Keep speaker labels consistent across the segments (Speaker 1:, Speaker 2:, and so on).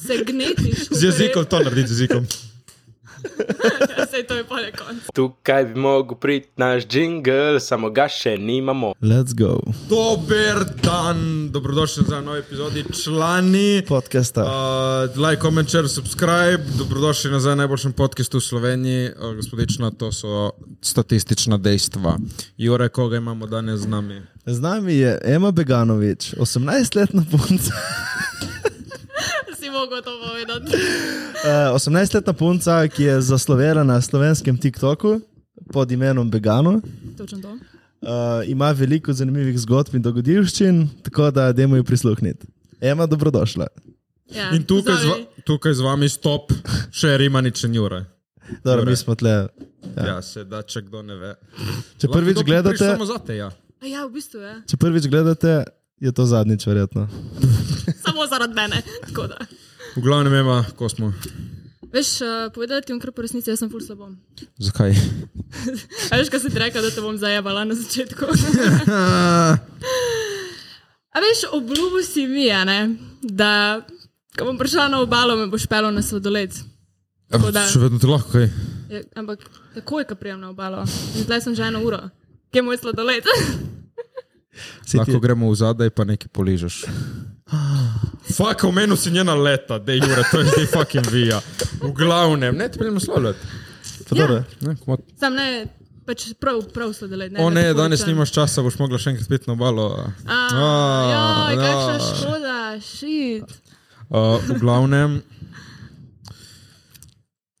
Speaker 1: se gnetiš.
Speaker 2: Z jezikom to narediš, z jezikom.
Speaker 1: Vse to je pole konc.
Speaker 3: Tukaj bi mogel priti naš jingle, samo ga še nimamo.
Speaker 4: Let's go.
Speaker 2: Dober dan, dobrodošli za novi epizodi člani.
Speaker 4: Podcasta.
Speaker 2: Uh, like, comment, share, subscribe. Dobrodošli nazaj na najboljšem podkastu v Sloveniji. Uh, gospodično, to so statistična dejstva. Jure, koga imamo danes z nami?
Speaker 4: Z nami je Ema Beganovič, 18-letna punca.
Speaker 1: Si mogel to povedati.
Speaker 4: Eh, 18-letna punca, ki je zaslovela na slovenskem TikToku pod imenom Begano.
Speaker 1: Točno to.
Speaker 4: Uh, ima veliko zanimivih zgodb in dogodivščin, tako da dajmo jo prisluhniti. Ema, dobrodošla.
Speaker 1: Ja,
Speaker 2: In tukaj z,
Speaker 1: pozdravljeni.
Speaker 2: va- tukaj z vami stop, še Rimanič in Jure.
Speaker 4: Dobro,
Speaker 2: Jure.
Speaker 4: mi smo tle.
Speaker 2: Ja, ja se da, če kdo ne ve.
Speaker 4: Če
Speaker 2: Lahko
Speaker 4: prvič
Speaker 2: kdo pripiše
Speaker 4: gledate,
Speaker 2: Samo zate, ja.
Speaker 1: A Ja, v bistvu je.
Speaker 4: če prvič gledate je to zadnjič, verjetno.
Speaker 1: Samo zaradi mene. Tako da.
Speaker 2: V glavnem ima, ko smo.
Speaker 1: Veš, eh, povedala ti bom kar po resnici, jaz sem ful slabo.
Speaker 2: Zakaj?
Speaker 1: A veš, kaj si ti rekel, da te bom zajebala na začetku? A veš, obljubil si mi, a ne, da ko bom prišla na obalo, me boš pelil na sladoled. Tako da-
Speaker 2: Še vedno ti lahko kaj.
Speaker 1: Ja, ampak takoj, ko prijem na obalo, zdaj sem že eno uro. Kje je moj sladoled?
Speaker 4: Si ti-
Speaker 2: Lahko gremo v zadaj, pa nekaj poližeš. Fak, omenil si njena leta, da je Jure, to je zdaj fucking vija. V glavnem, ne, ti pridemo slovljati.
Speaker 4: Pa
Speaker 2: Ja.
Speaker 4: dobro.
Speaker 1: Sam ne, pač prav, prav sladoled. Ne,
Speaker 2: O ne,
Speaker 1: tako
Speaker 2: danes
Speaker 1: rečem.
Speaker 2: nimaš časa, boš mogla še enkrat pit na obalo.
Speaker 1: A,
Speaker 4: Ah,
Speaker 2: A,
Speaker 1: Joj, kakšna
Speaker 2: ja.
Speaker 1: škoda, šit.
Speaker 2: Uh, v glavnem,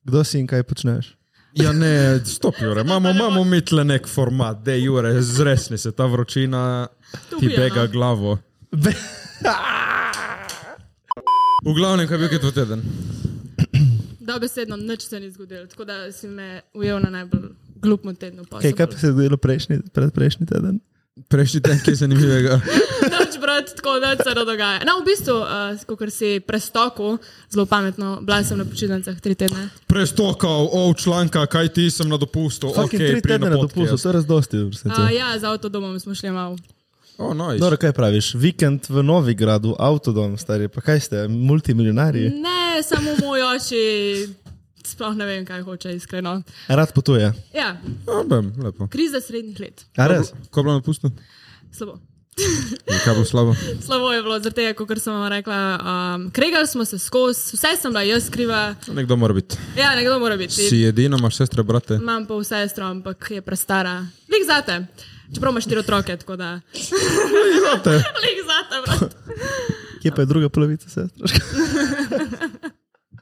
Speaker 4: Kdo si in kaj počneš?
Speaker 2: ja ne, stop Jure, imamo, imamo mi tle nek format, da je Jure, zresni se, ta vročina ti
Speaker 1: Ubija, no.
Speaker 2: bega glavo.
Speaker 4: Be
Speaker 2: V glavnem, kaj bi kaj to teden?
Speaker 1: Dobesedno nič se ni zgodilo, tako da si me ujel na najbolj glupem tednu.
Speaker 4: kaj, kaj pa se je zgodilo prejšnji, predprejšnji teden?
Speaker 2: Prejšnji teden, kaj zanimivega.
Speaker 1: Noč brati, tako da se ne dogaja. No, v bistvu, uh, ker si prestoku, zelo pametno, bila sem na počitnicah tri tedne.
Speaker 2: Prestokal, o članka, kaj ti sem na dopustu.
Speaker 4: Fucking
Speaker 2: Okej,
Speaker 4: tri
Speaker 2: pridi
Speaker 4: tedne na
Speaker 2: podcast.
Speaker 4: dopustu, to je razdosti. v resnici.
Speaker 1: Uh, ja, z avtodomom smo šli malo.
Speaker 2: O, nice.
Speaker 4: Dobro, kaj praviš? Vikend v Novigradu, avtodom, stari, pa kaj ste, multimilionarji?
Speaker 1: Ne, samo moj oči, sploh ne vem, kaj hoče, iskreno.
Speaker 4: Rad potuje.
Speaker 1: Ja,
Speaker 2: Ja, bem, lepo.
Speaker 1: kriza srednjih let.
Speaker 4: A res?
Speaker 2: Ko je bilo napusto?
Speaker 1: Slabo.
Speaker 2: Kaj bo slabo?
Speaker 1: Slabo je bilo, zaradi tega, kot sem vam rekla, um, kregali smo se skozi, vse sem bila jaz kriva.
Speaker 4: No,
Speaker 2: Nekdo mora biti.
Speaker 1: Ja, nekdo mora biti.
Speaker 2: Si edina, imaš sestre, brate.
Speaker 1: Imam pa vse sestro, ampak je prestara. Lik zate, čeprav imaš štiri otroke, tako da.
Speaker 2: Zate.
Speaker 1: Lik zate, brat.
Speaker 4: Kje pa je druga polovica sestra?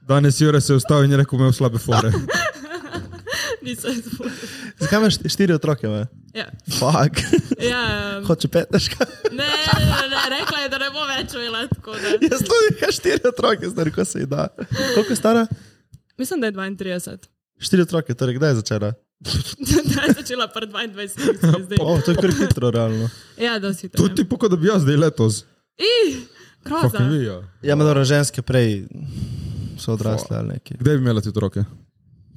Speaker 2: Danes Jure se je ustavil in je rekel, imel slabe fore.
Speaker 1: Nisem zbudil.
Speaker 4: Zakaj imaš štiri otroke? Me?
Speaker 1: Ja.
Speaker 4: Fuck,
Speaker 1: Ja, um,
Speaker 4: hoče peteška.
Speaker 1: ne, ne, ne, rekla je, da ne bo več ujela, tako da.
Speaker 4: Jaz tudi imam štiri otroke, stari, ko se ji da. Koliko je stara?
Speaker 1: Mislim, da je 32.
Speaker 4: Štiri otroke, torej kdaj je začela?
Speaker 1: da je začela pred 22. zdaj.
Speaker 4: O, oh, to je kar hitro, realno.
Speaker 1: Ja, da si to.
Speaker 2: To ti poko, da bi jaz zdaj letos.
Speaker 1: I, groza.
Speaker 2: Fucking vi, ja.
Speaker 4: Ja, ma dobro, ženske prej so odrasle ali nekaj.
Speaker 2: Kdaj bi imela ti otroke?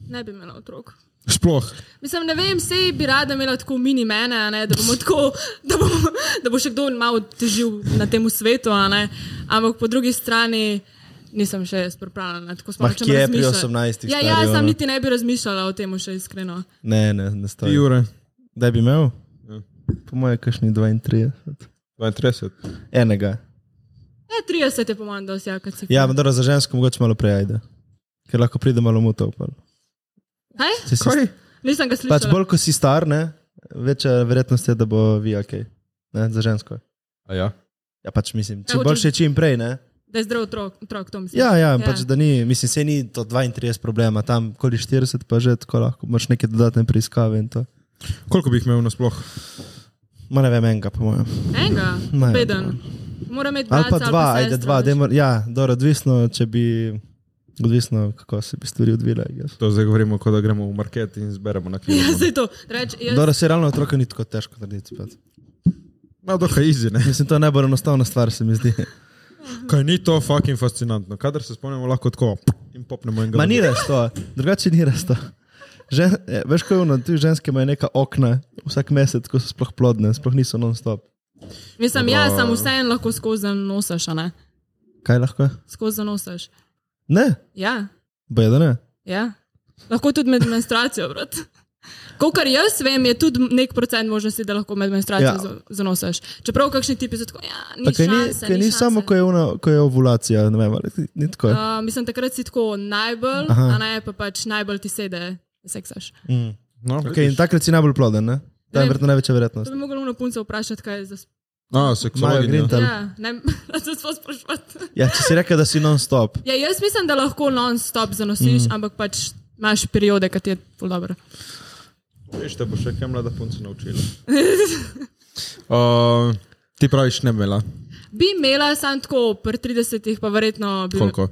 Speaker 1: Ne bi imela otrok.
Speaker 2: Sploh.
Speaker 1: Mislim, ne vem, sej bi rada imela tako mini mene, a ne, da, bomo tako, da, bomo, da bo še kdo malo težil na tem svetu, a ne. ampak po drugi strani nisem še jaz pripravljena. Tako smo
Speaker 4: Ma
Speaker 1: rečem,
Speaker 4: kje pri
Speaker 1: razmišljati.
Speaker 4: 18
Speaker 1: Ja,
Speaker 4: stari,
Speaker 1: ja, sam
Speaker 4: ono?
Speaker 1: niti ne bi razmišljala o tem še iskreno.
Speaker 4: Ne, ne, ne
Speaker 2: Ti,
Speaker 4: stoji.
Speaker 2: Jure.
Speaker 4: Kdaj bi imel?
Speaker 2: Ja.
Speaker 4: Po mojem, kakšni 32.
Speaker 2: 32.
Speaker 4: Enega.
Speaker 1: E, 30 je po mojem, da vsaka cifra.
Speaker 4: Ja, ma dobro, za žensko mogoče malo prej ajde. Ker lahko pride malo mutov. Pa.
Speaker 1: Kaj?
Speaker 4: Če si
Speaker 2: Kaj?
Speaker 1: Nisem ga
Speaker 4: Pač
Speaker 1: slišala.
Speaker 4: bolj ko si star, ne, večja verjetnost je, da bo vi ok. Ne, za žensko.
Speaker 2: A ja.
Speaker 4: Ja, pač mislim,
Speaker 1: Ja,
Speaker 4: če
Speaker 1: hočeš-
Speaker 4: boljše je čim prej. Ne?
Speaker 1: Da je zdrav otrok, otrok to mislim.
Speaker 4: Ja, ja, ja. Pač, da ni, mislim, se ni to 32 problema, tam koli 40, pa že tako lahko imaš neke dodatne preiskave. in to.
Speaker 2: Koliko bi jih imel nasploh?
Speaker 4: Ma ne vem, enega, po mojem.
Speaker 1: Enega,
Speaker 4: Ne,
Speaker 1: beden. Mora imeti
Speaker 4: Ali
Speaker 1: brat,
Speaker 4: pa dva,
Speaker 1: sestra,
Speaker 4: ajde dva,
Speaker 1: veš.
Speaker 4: dejmo, ja, dobro, odvisno, če bi, odvisno, kako se bi stvari odvile. I guess.
Speaker 2: To zdaj govorimo, kot da gremo v market in zberemo na
Speaker 1: Ja,
Speaker 2: knjigo.
Speaker 1: zdaj to. Reč, jaz,
Speaker 4: Dobro, se realno otroka ni tako težko narediti. Pač.
Speaker 2: Ma, No, dokaj izi, ne?
Speaker 4: Mislim, to je najbolj enostavna stvar, se mi zdi.
Speaker 2: Kaj ni to fucking fascinantno? Kadar se spomnimo, lahko tako in popnemo enega.
Speaker 4: Ma ni res to, drugače ni res to. Žen, eh, veš, ko je ono, tu ženske imajo neka okna vsak mesec, ko so sploh plodne, sploh niso non-stop.
Speaker 1: mislim, ja,
Speaker 2: Dobro.
Speaker 1: sam vseeno lahko skozi nosiš, a ne.
Speaker 4: Kaj lahko?
Speaker 1: Skozi nosiš.
Speaker 4: Ne,
Speaker 1: Ja,
Speaker 4: boje da ne.
Speaker 1: ja. Lahko tudi med menstruacijo, brat. Kolikor jaz vem, je tudi nek procent možnosti, da lahko med menstruacijo
Speaker 4: Ja.
Speaker 1: ja. zanosiš. Čeprav kakšni tipi so tako, ja, ni
Speaker 4: Pa kaj ni,
Speaker 1: šanse,
Speaker 4: kaj ni
Speaker 1: šanse."
Speaker 4: samo, ko je, ona, ko je ovulacija, ne vem, ali ni tako. Uh,
Speaker 1: Uh, mislim, takrat si tako najbolj,
Speaker 4: Aha.
Speaker 1: a ne pa pač najbolj ti sede, seksaš.
Speaker 2: No,
Speaker 4: okay, Mm. in takrat si najbolj ploden, ne?
Speaker 1: Ne.
Speaker 4: Tam je verjetno največja
Speaker 1: To
Speaker 4: verjetnost.
Speaker 1: bi mogel uno punco vprašati, kaj je za spolno.
Speaker 2: A,
Speaker 4: Maja
Speaker 2: seksualni.
Speaker 4: Grint. Tam.
Speaker 1: Ja, ne, da se sploh sprašujete.
Speaker 4: Ja, če si rekel, da si non-stop.
Speaker 1: Ja, jaz mislim, da lahko non-stop zanosiš, mm. ampak pač imaš periode, ki ti je ful dobro.
Speaker 2: Veš, te bo še kaj mlada punca naučila. uh, ti praviš ne bi imela.
Speaker 1: Bi imela sam tako, pri 30-ih pa verjetno bi
Speaker 2: Koliko?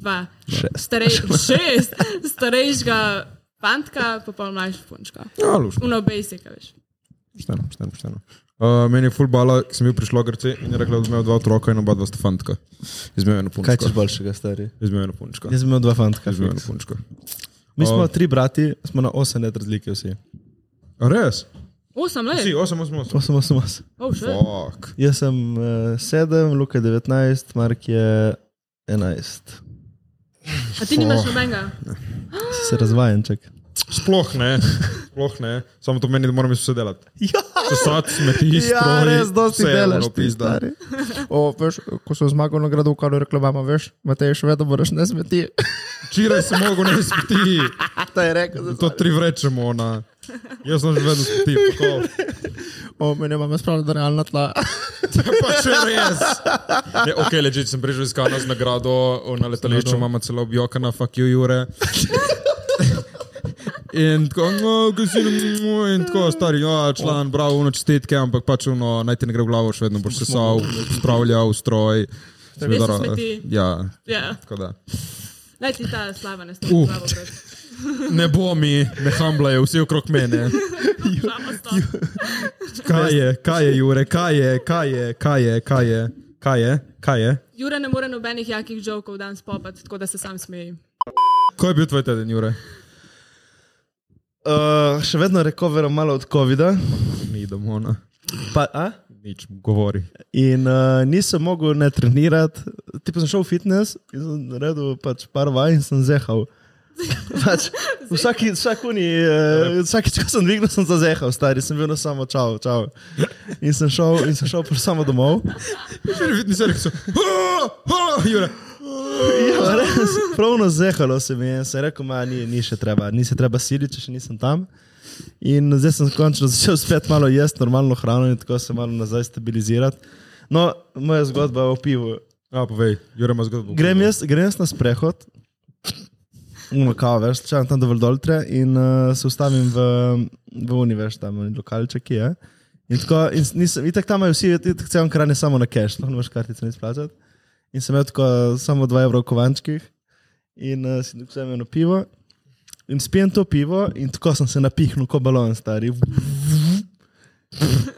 Speaker 1: dva.
Speaker 4: Šest.
Speaker 1: Starej, šest, starejšega fantka, pa pa mlajša punčka.
Speaker 2: Ja, luš.
Speaker 1: Uno basic, a veš.
Speaker 2: Pošteno, pošteno, pošteno. Uh, meni je fulbala, sem bil pri šlogarci in je rekla, da ima dva otroka in oba dva sta fantka. Izmejo eno
Speaker 4: Kaj češ
Speaker 2: punčko.
Speaker 4: boljšega, stari?
Speaker 2: Izmejo eno punčko.
Speaker 4: Jaz sem imel dva fantka.
Speaker 2: Izmejo eno punčko.
Speaker 4: Mi smo
Speaker 2: O.
Speaker 4: tri brati, smo na osem let razlike vsi.
Speaker 2: A Res?
Speaker 1: Osem
Speaker 2: Si,
Speaker 1: let.
Speaker 2: osem, osem, osem.
Speaker 4: Osem, osem, osem.
Speaker 1: Oh, še.
Speaker 2: Fuck.
Speaker 4: Jaz sem uh, sedem, Luka je 19, Mark je 11.
Speaker 1: A ti nimaš nobenega?
Speaker 4: Se razvajen, čak.
Speaker 2: Sploh ne, sploh ne. Samo to meni, da moram jaz vse delati.
Speaker 4: Ja,
Speaker 2: Sesat, smeti,
Speaker 4: ja
Speaker 2: stroji,
Speaker 4: res, dosti
Speaker 2: vse je
Speaker 4: delaš,
Speaker 2: ono,
Speaker 4: ti
Speaker 2: pizda.
Speaker 4: stari.
Speaker 5: O, veš, ko sem zmagal na gradu, kar je rekla mama, veš, Matej, še vedno moraš ne smeti.
Speaker 2: Včeraj sem mogel ne smeti.
Speaker 5: Ta je rekel, da
Speaker 2: To tri vrečemo na. Jaz sem že vedno smeti, pa to.
Speaker 5: O, mene mama spravlja na realna tla.
Speaker 2: Pa če res. Ne, ok, leži, sem prišel iz Kana z nagrado, o, na letališču imamo celo objokana, fuck you, Jure. In tako, no, gosino, in tako, stari, ja, član, bravo, no, čestitke, ampak pač, no, naj ti ne gre v glavo, še vedno boš se sal, spravljal, stroj.
Speaker 1: Res so smeti.
Speaker 2: Ja,
Speaker 1: Ja,
Speaker 2: tako da.
Speaker 1: naj ti ta slava ne stoji.
Speaker 2: Uh.
Speaker 1: Uh.
Speaker 2: Ne bo mi, ne hamblajo, vsi okrog mene. Kaj je, kaj je, Jure, kaj je, kaj je, kaj je, kaj je, kaj je, kaj je.
Speaker 1: Jure ne more nobenih jakih žokov danes popati, tako da se sam smeji.
Speaker 2: Ko je bil tvoj teden, Jure?
Speaker 4: Uh, še vedno recoveram malo od COVID-a.
Speaker 2: Ni domona.
Speaker 4: Pa, a?
Speaker 2: Nič mu govori.
Speaker 4: In uh, nisem mogel ne trenirati, ti pa sem šel v fitness in sem naredil pač par vaj in sem zehal. Pač, vsaki, vsakuni, uh, vsakič, ko sem dvignil, sem zazehal, stari sem bil na samo čau, čau. In sem šel, in sem šel pač samo domov.
Speaker 2: Vidni se rekli, Jure.
Speaker 4: Ja, res, pravno zehalo se mi je, sem rekel, ma ni, ni še treba, ni se treba siliti, če še nisem tam. In zdaj sem končno začel spet malo jesti normalno hrano in tako se malo nazaj stabilizirati. No, moja zgodba o pivu.
Speaker 2: A, povej, Jure ima zgodbo.
Speaker 4: Grem jaz, grem jaz na sprehod, no, kao, veš, čakam tam dovolj doltre in uh, se ustavim v, v univerz, tam je lokalček, ki je. In tako, in s- nisem, itak tam imajo vsi, itak cel kraj je samo na cache, lahko imaš kartice, ne splačati. In sem imel tako eh, samo 2 evra v kovančkih in uh, si vzamem eno pivo. In spijem to pivo in tako sem se napihnil, kot balon stari.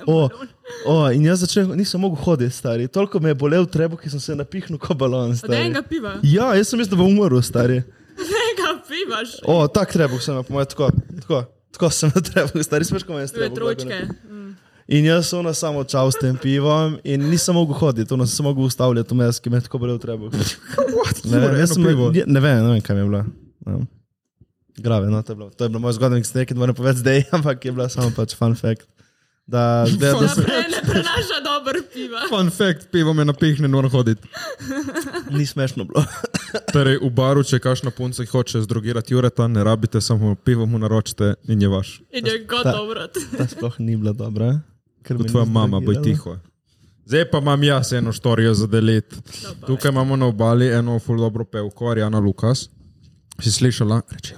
Speaker 4: O, o, in jaz začel, nisem mogel hoditi, stari. Toliko me je bolel trebuh, ki sem se napihnil, kot balon
Speaker 1: Od
Speaker 4: stari.
Speaker 1: enega piva.
Speaker 4: Ja, jaz sem mislil, da bom umrl, stari.
Speaker 1: Enega pivaš.
Speaker 4: O, tak trebuh sem, imel, po mojem, tako, tako, tako sem na trebuh, stari, smeš, ko me je
Speaker 1: Tvoje
Speaker 4: stari.
Speaker 1: trojčke.
Speaker 4: In jaz sem na samo čau s tem pivom in nisem mogel hoditi, ono sem se mogel ustavljati, vmes, ki me je tako bolel trebuh. Ne vem, jaz sem,
Speaker 2: pivo.
Speaker 4: ne, ne vem, ne vem, kaj mi je bilo. Ne vem. Grave, no, to je bilo, to je bilo moje zgodovino, ki sem nekaj moram povedati zdaj, ampak je bila samo pač fun fact. Da, da, da
Speaker 1: Da
Speaker 4: sem,
Speaker 1: pre, ne prenaša dober piva.
Speaker 2: Fun fact, pivo me napihne, moram hoditi.
Speaker 4: ni smešno bilo.
Speaker 2: Torej, v baru, če kašna punca ki hoče zdrogirati Jureta, ne rabite, samo pivo mu naročite in je vaš.
Speaker 1: In je gotovo vrat.
Speaker 4: Ta sploh ni bila dobra. ker me
Speaker 2: Kot tvoja
Speaker 4: ni
Speaker 2: mama, boj
Speaker 4: zdrogirala.
Speaker 2: tiho. Zdaj pa imam jaz eno štorijo za deliti. Tukaj imamo na obali eno ful dobro pevko, Arjana Lukas. Si slišala? Reče.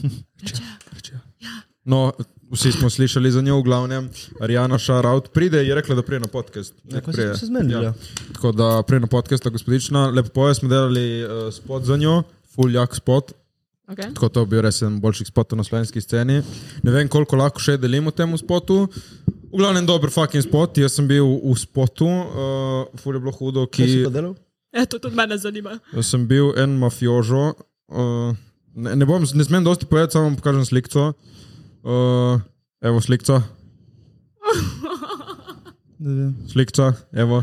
Speaker 2: ja. Reče ja, reče ja. No, vsi smo slišali za njo, v glavnem. Arjana Šaraut pride, je rekla, da prije na podcast. Nek
Speaker 4: ko se-
Speaker 2: pride.
Speaker 4: se zmenili, ja.
Speaker 2: Tako da prije na podcast, ta gospodična, lepo poje, smo delali uh, spot za njo, full jak spot.
Speaker 1: Okay.
Speaker 2: Tako to bi bil res en boljši spot na slovenski sceni. Ne vem, koliko lahko še delimo temu spotu. V glavnem, dober fucking spot. Jaz sem bil v spotu, uh, fur je bilo hudo,
Speaker 4: Kaj si
Speaker 2: ki
Speaker 4: pa delal?
Speaker 1: E, to tudi mene zanima.
Speaker 2: sem bil en mafiožo. Uh, ne, ne, bom, ne smem dosti povedati, samo vam pokažem sliko. Uh, evo slika,
Speaker 4: Ne vem.
Speaker 2: slika, evo.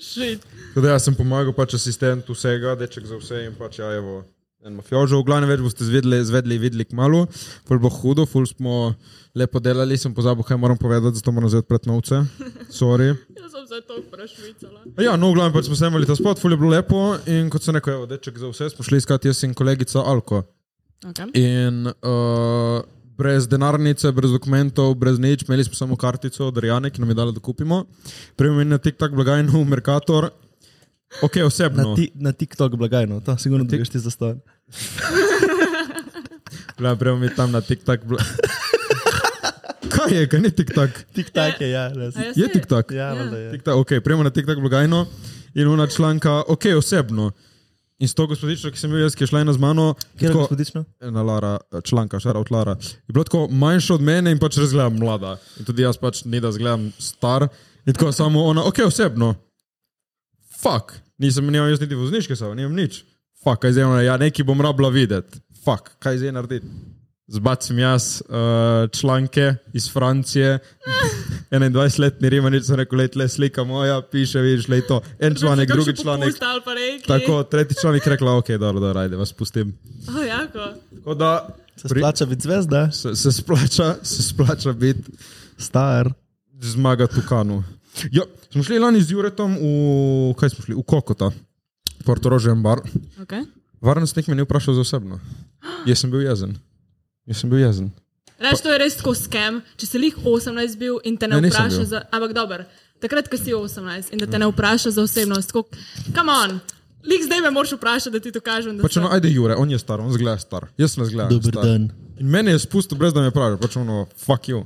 Speaker 1: Shit.
Speaker 2: Tako da jaz sem pomagal, pač asistent vsega, deček za vse in pač ja, evo, en mafiožo. V glavnem več boste zvedli, zvedli videli kmalo, ful bo hudo, ful smo lepo delali, sem pozabil, kaj moram povedati, zato moram zdaj odpreti novce. Sorry.
Speaker 1: Jaz sem se to vprašala.
Speaker 2: Ja, no, v glavnem pač smo snemali ta spot, ful je bilo lepo in kot sem rekel, evo, deček za vse, smo šli iskati jaz in kolegica Alko.
Speaker 1: Okay.
Speaker 2: In uh, brez denarnice, brez dokumentov, brez nič, imeli smo samo kartico od Rijane, ki nam je dala, da kupimo. Prejmo in na tik-tak blagajno v Merkator. Ok,
Speaker 4: Na,
Speaker 2: osebno.
Speaker 4: ti, na TikTok blagajno, to sigurno dobiš ti za ston.
Speaker 2: Bila, prejmo in tam na tik-tak. Bla... Kaj je, kaj ni tik-tak?
Speaker 4: TikTok je, ja, res.
Speaker 2: Je tik-tak.
Speaker 4: Ja, valjda je.
Speaker 2: Tiktak, okay, Prejmo na tik-tak blagajno in ona članka, ok, osebno. In s to gospodično, ki sem bil jaz, ki je šla ena z mano,
Speaker 4: Kjer no? je
Speaker 2: tako-
Speaker 4: gospodično?
Speaker 2: ena Lara, eh, članka, šara od Lara. Je bila tako manjša od mene in pač res gledam mlada. In tudi jaz pač ne da zgledam star. In tako samo ona, ok, osebno. Fak, nisem imel jaz niti vozniške save, nimam nič. Fak, kaj zdaj ona, ja, neki bom rabila videti. Fak, kaj zdaj narediti. Zbacim jaz uh, članke iz Francije, 21-letni Rimanič, sem rekel, lej, tle slika moja, piše, vidiš, lej to. En članek, drugi članek. Tako, tretji članek je rekla, ok, dobro, dobro, ajde, vas pustim.
Speaker 1: Oh, jako.
Speaker 2: Tako da,
Speaker 4: Se
Speaker 2: pri-
Speaker 4: splača biti zvezda,
Speaker 2: se, se splača, se splača biti
Speaker 4: star.
Speaker 2: zmaga Tukanu. Ja, smo šli lani z Juretom v, kaj smo šli, v Kokota, Portorožen bar.
Speaker 1: Okay.
Speaker 2: Varnostnik me ni vprašal za osebno. Jaz sem bil jezen. Jaz sem bil jezen.
Speaker 1: Reč, to je res tako skem. Če si jih 18 bil in te ne,
Speaker 2: Ne,
Speaker 1: ne
Speaker 2: Ja, nisem
Speaker 1: vpraša
Speaker 2: bil.
Speaker 1: za. Ampak dober, takrat, ko si 18 in da te ne vpraša za osebnost, kot kam on. Lik zdaj me moraš vprašati, da ti to kažem. Da
Speaker 2: Pač
Speaker 1: sem-
Speaker 2: ono, ajde Jure, on je star, on zgleda star. Jaz sem zgleda.
Speaker 4: Dober
Speaker 2: star.
Speaker 4: dan.
Speaker 2: In mene je spustil, brez da me pravi, pač ono, fuck you.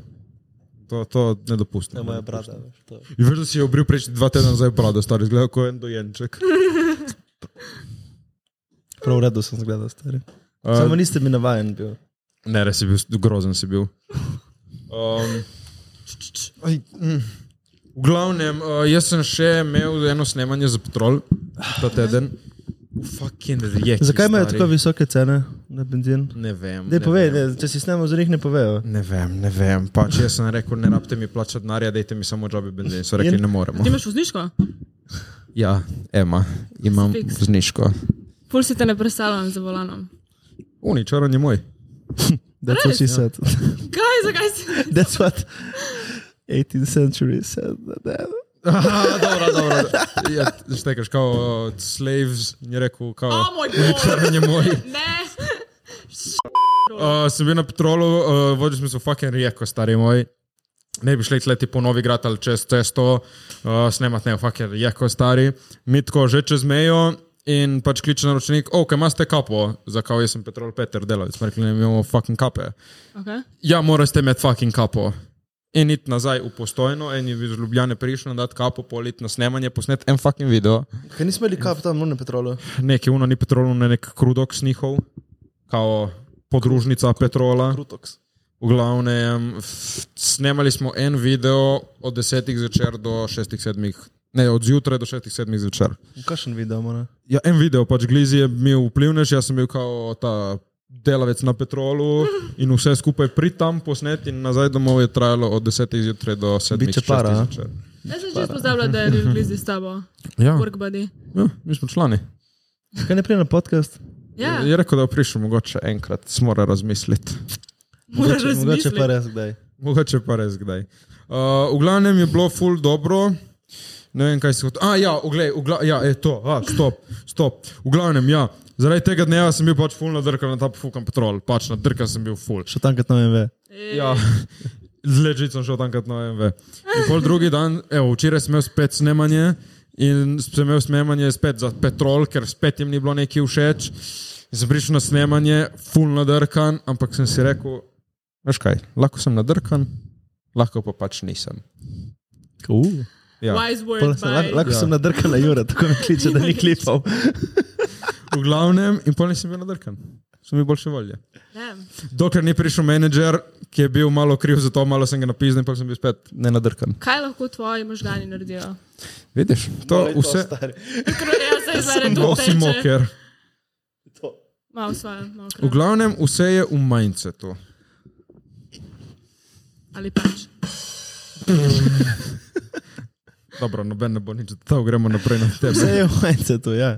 Speaker 2: To, to ne dopustim.
Speaker 4: Ja, moja brata, veš, to.
Speaker 2: In veš, da si je obril prejšnji dva tedna nazaj brado, star, zgleda kot en dojenček.
Speaker 4: Prav redo sem zgledal, stari. Samo niste mi navajen bil.
Speaker 2: Ne, res si bil, grozen si bil. Um, aj, mm. v glavnem, uh, jaz sem še imel eno snemanje za Petrol ta teden. V fucking reki.
Speaker 4: Zakaj imajo
Speaker 2: stari.
Speaker 4: tako visoke cene na benzin?
Speaker 2: Ne vem.
Speaker 4: Dej
Speaker 2: ne
Speaker 4: povej,
Speaker 2: vem.
Speaker 4: ne, ja. če si snemo za njih, ne povejo.
Speaker 2: Ne vem, ne vem. Pač jaz sem rekel, ne rabite mi plačati denarja, dajte mi samo džabe benzin. So rekli,
Speaker 4: In-
Speaker 2: ne
Speaker 1: Ti
Speaker 2: moremo.
Speaker 1: imaš vozniško?
Speaker 2: Ja, Ema, imam
Speaker 1: Fiks.
Speaker 2: zniško.
Speaker 1: Pol si te ne presalam za volanom.
Speaker 2: Uničaran je moj.
Speaker 4: That's what she said.
Speaker 1: Kaj, zakaj si?
Speaker 4: That's what 18th century said.
Speaker 2: Aha, dobro, dobro. Ja, štekaš, kao uh, slaves, je rekel, kao.
Speaker 1: O moj bog!
Speaker 2: Uničaran je moj.
Speaker 1: Ne!
Speaker 2: Uh, sem bil na Petrolu, uh, vodil sem se v fucking rijeko, stari moj. Ne bi šli tleti po novi grad ali čez cesto, uh, snemati ne, v fucking rijeko, stari. Mi tako že čez mejo in pač kliče naročnik, ok, oh, imaš te kapo, zakaj jaz sem Petrol Peter delal, smo rekli, ne mi imamo fucking kape.
Speaker 1: Okay.
Speaker 2: Ja, moraš te imeti fucking kapo. In iti nazaj v postojno, en je iz Ljubljane prišel, da kapo polit na snemanje, posnet en fucking video.
Speaker 4: Kaj nismo imeli kap tam, no, na petrolu?
Speaker 2: Neki uno ni Petrolu, ne nek krudok snihov, kao podružnica Petrola.
Speaker 4: Krutox.
Speaker 2: V glavnem, f- snemali smo en video od 10 zvečer do 6, 7, ne od zjutraj do 6, 7 zvečer.
Speaker 4: Kakšen video, mora?
Speaker 2: Ja, en video, pač Glizi je bil vplivnež, jaz sem bil kao ta delavec na Petrolu in vse skupaj pri tam posnet in nazaj domov je trajalo od 10 zjutraj do 7,
Speaker 4: Biće para,
Speaker 2: 6
Speaker 4: a?
Speaker 2: zvečer.
Speaker 1: Jaz sem že pozabila, da je bil v blizu s tabo.
Speaker 2: Ja,
Speaker 1: Work buddy.
Speaker 2: ja, mi smo člani.
Speaker 4: Kaj ne prije na podcast?
Speaker 1: Ja,
Speaker 2: Je rekel, da bo prišel mogoče enkrat, mora razmisliti.
Speaker 1: moraš
Speaker 4: Mogoče- Mogoče
Speaker 1: razmisliti.
Speaker 4: pa res kdaj.
Speaker 2: Mogoče pa res kdaj. Uh, v glavnem je bilo ful dobro. Ne vem, kaj se hoče. A, ja, oglej, ugla, ja, je to, a, stop, stop. V glavnem, ja. Zaradi tega dneva sem bil pač ful nadrkan na ta fucking patrol, pač nadrkan sem bil ful.
Speaker 4: Še tam, kot nam je ve.
Speaker 2: Ja, zležit sem šel tamkrat na MV. In pol drugi dan, evo, včeraj sem imel spet snemanje in sem imel snemanje spet za Petrol, ker spet jim ni bilo neki všeč. In sem prišel na snemanje, full nadrkan, ampak sem si rekel, veš kaj, lahko sem nadrkan, lahko pa pač nisem.
Speaker 4: Uh.
Speaker 2: Ja.
Speaker 1: Wise
Speaker 4: Pol
Speaker 1: words.
Speaker 4: se Lahko lahko
Speaker 2: Ja.
Speaker 4: sem nadrkal na Jure, tako me kliče, da ni klipal.
Speaker 2: V glavnem, in pol nisem bil nadrkan, sem bil boljše volje.
Speaker 1: Damn.
Speaker 2: Dokler ni prišel menedžer, ki je bil malo kriv za to, malo sem ga napiznil, pa sem bil spet nenadrkan.
Speaker 1: Kaj lahko tvoji možgani naredijo?
Speaker 2: Vidiš, to
Speaker 4: Lej,
Speaker 2: vse.
Speaker 4: stari.
Speaker 1: Ker jaz se zdaj to
Speaker 2: Nosi
Speaker 1: teče.
Speaker 2: moker.
Speaker 4: To.
Speaker 1: Malo svoje, malo
Speaker 2: V
Speaker 1: krav.
Speaker 2: glavnem, vse je v mindsetu.
Speaker 1: Ali pač.
Speaker 2: Dobro, noben ne bo nič, da gremo naprej na tebe.
Speaker 4: Vse je v mindsetu, ja.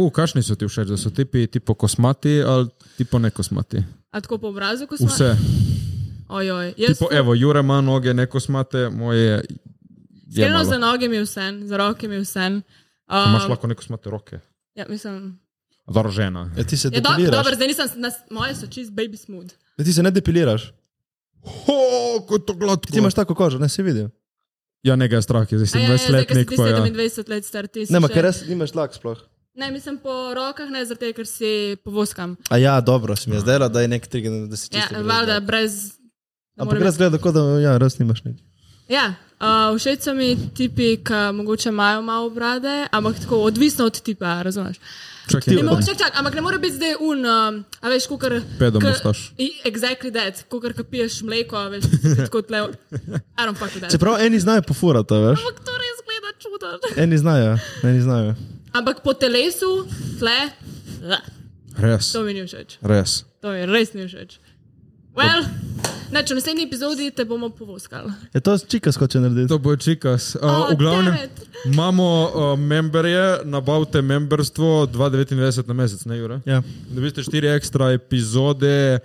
Speaker 2: U, kakšni so ti všeč, da so tipi tipo kosmati ali tipo nekosmati?
Speaker 1: A tako po obrazu, ko smo.
Speaker 2: Vse.
Speaker 1: Ojoj, jaz.
Speaker 2: Tipo, evo, Jure ima noge, nekosmate, moje. Je
Speaker 1: Skreno
Speaker 2: malo.
Speaker 1: za noge mi je vse, za roke mi je vse. Um,
Speaker 2: A Imaš lahko nekosmate roke.
Speaker 1: Ja, mislim.
Speaker 2: Dobro, žena.
Speaker 4: ja ti se
Speaker 1: Je do,
Speaker 4: depiliraš.
Speaker 1: dobro, zdaj nisem, nas, moje so čist baby smooth.
Speaker 4: Ja, ti se ne depiliraš.
Speaker 2: Ho, kot to gladko.
Speaker 4: Ti imaš tako kožo, ne si videl.
Speaker 2: Ja, nekaj strah je, zdaj si
Speaker 1: A ja, ja, zdaj, ker si
Speaker 2: 20-letnik.
Speaker 1: ti
Speaker 2: pa ja.
Speaker 1: 27 let star, ti si.
Speaker 4: Ne, ma,
Speaker 1: še-
Speaker 4: ker res nimaš tlak sploh.
Speaker 1: Ne, mislim po rokah, ne zato, ker si povoskam.
Speaker 4: A ja, dobro, si mi je zdela, da je nek trigger, da si
Speaker 1: Ja,
Speaker 4: čisto. brez
Speaker 1: valjda,
Speaker 4: dlak.
Speaker 1: brez. da
Speaker 4: Ampak
Speaker 1: mora
Speaker 4: res gleda, kot da ja, res nimaš nič.
Speaker 1: Ja, uh, všeč so mi tipi, ki mogoče imajo malo brade, ampak tako odvisno od tipa, razumeš?
Speaker 2: Čakaj,
Speaker 1: Ne
Speaker 2: ne,
Speaker 1: mo- Čak, čak, ampak ne more biti zdaj un, um, a veš, kukar.
Speaker 2: Pedo mustaš.
Speaker 1: Exactly that, kukar kapiješ mleko, a veš, ti tako tle. I don't fuck with that.
Speaker 4: Čeprav eni znajo pofurati, a veš.
Speaker 1: Ampak to res gleda čudo.
Speaker 4: Eni znajo, eni znajo.
Speaker 1: Ampak po telesu, tle, da,
Speaker 2: res.
Speaker 1: to mi ni všeč.
Speaker 2: Res.
Speaker 1: To mi res ni všeč. Well, neč, v naslednji epizodi te bomo povoskali.
Speaker 4: Je to čika skoče narediti.
Speaker 2: To bo čikas.
Speaker 1: Oh,
Speaker 2: Uh, v glavnem,
Speaker 1: damn it.
Speaker 2: imamo uh, memberje, nabavite memberstvo 2,99 na mesec, ne Jure?
Speaker 4: Ja.
Speaker 2: Dobite štiri ekstra epizode.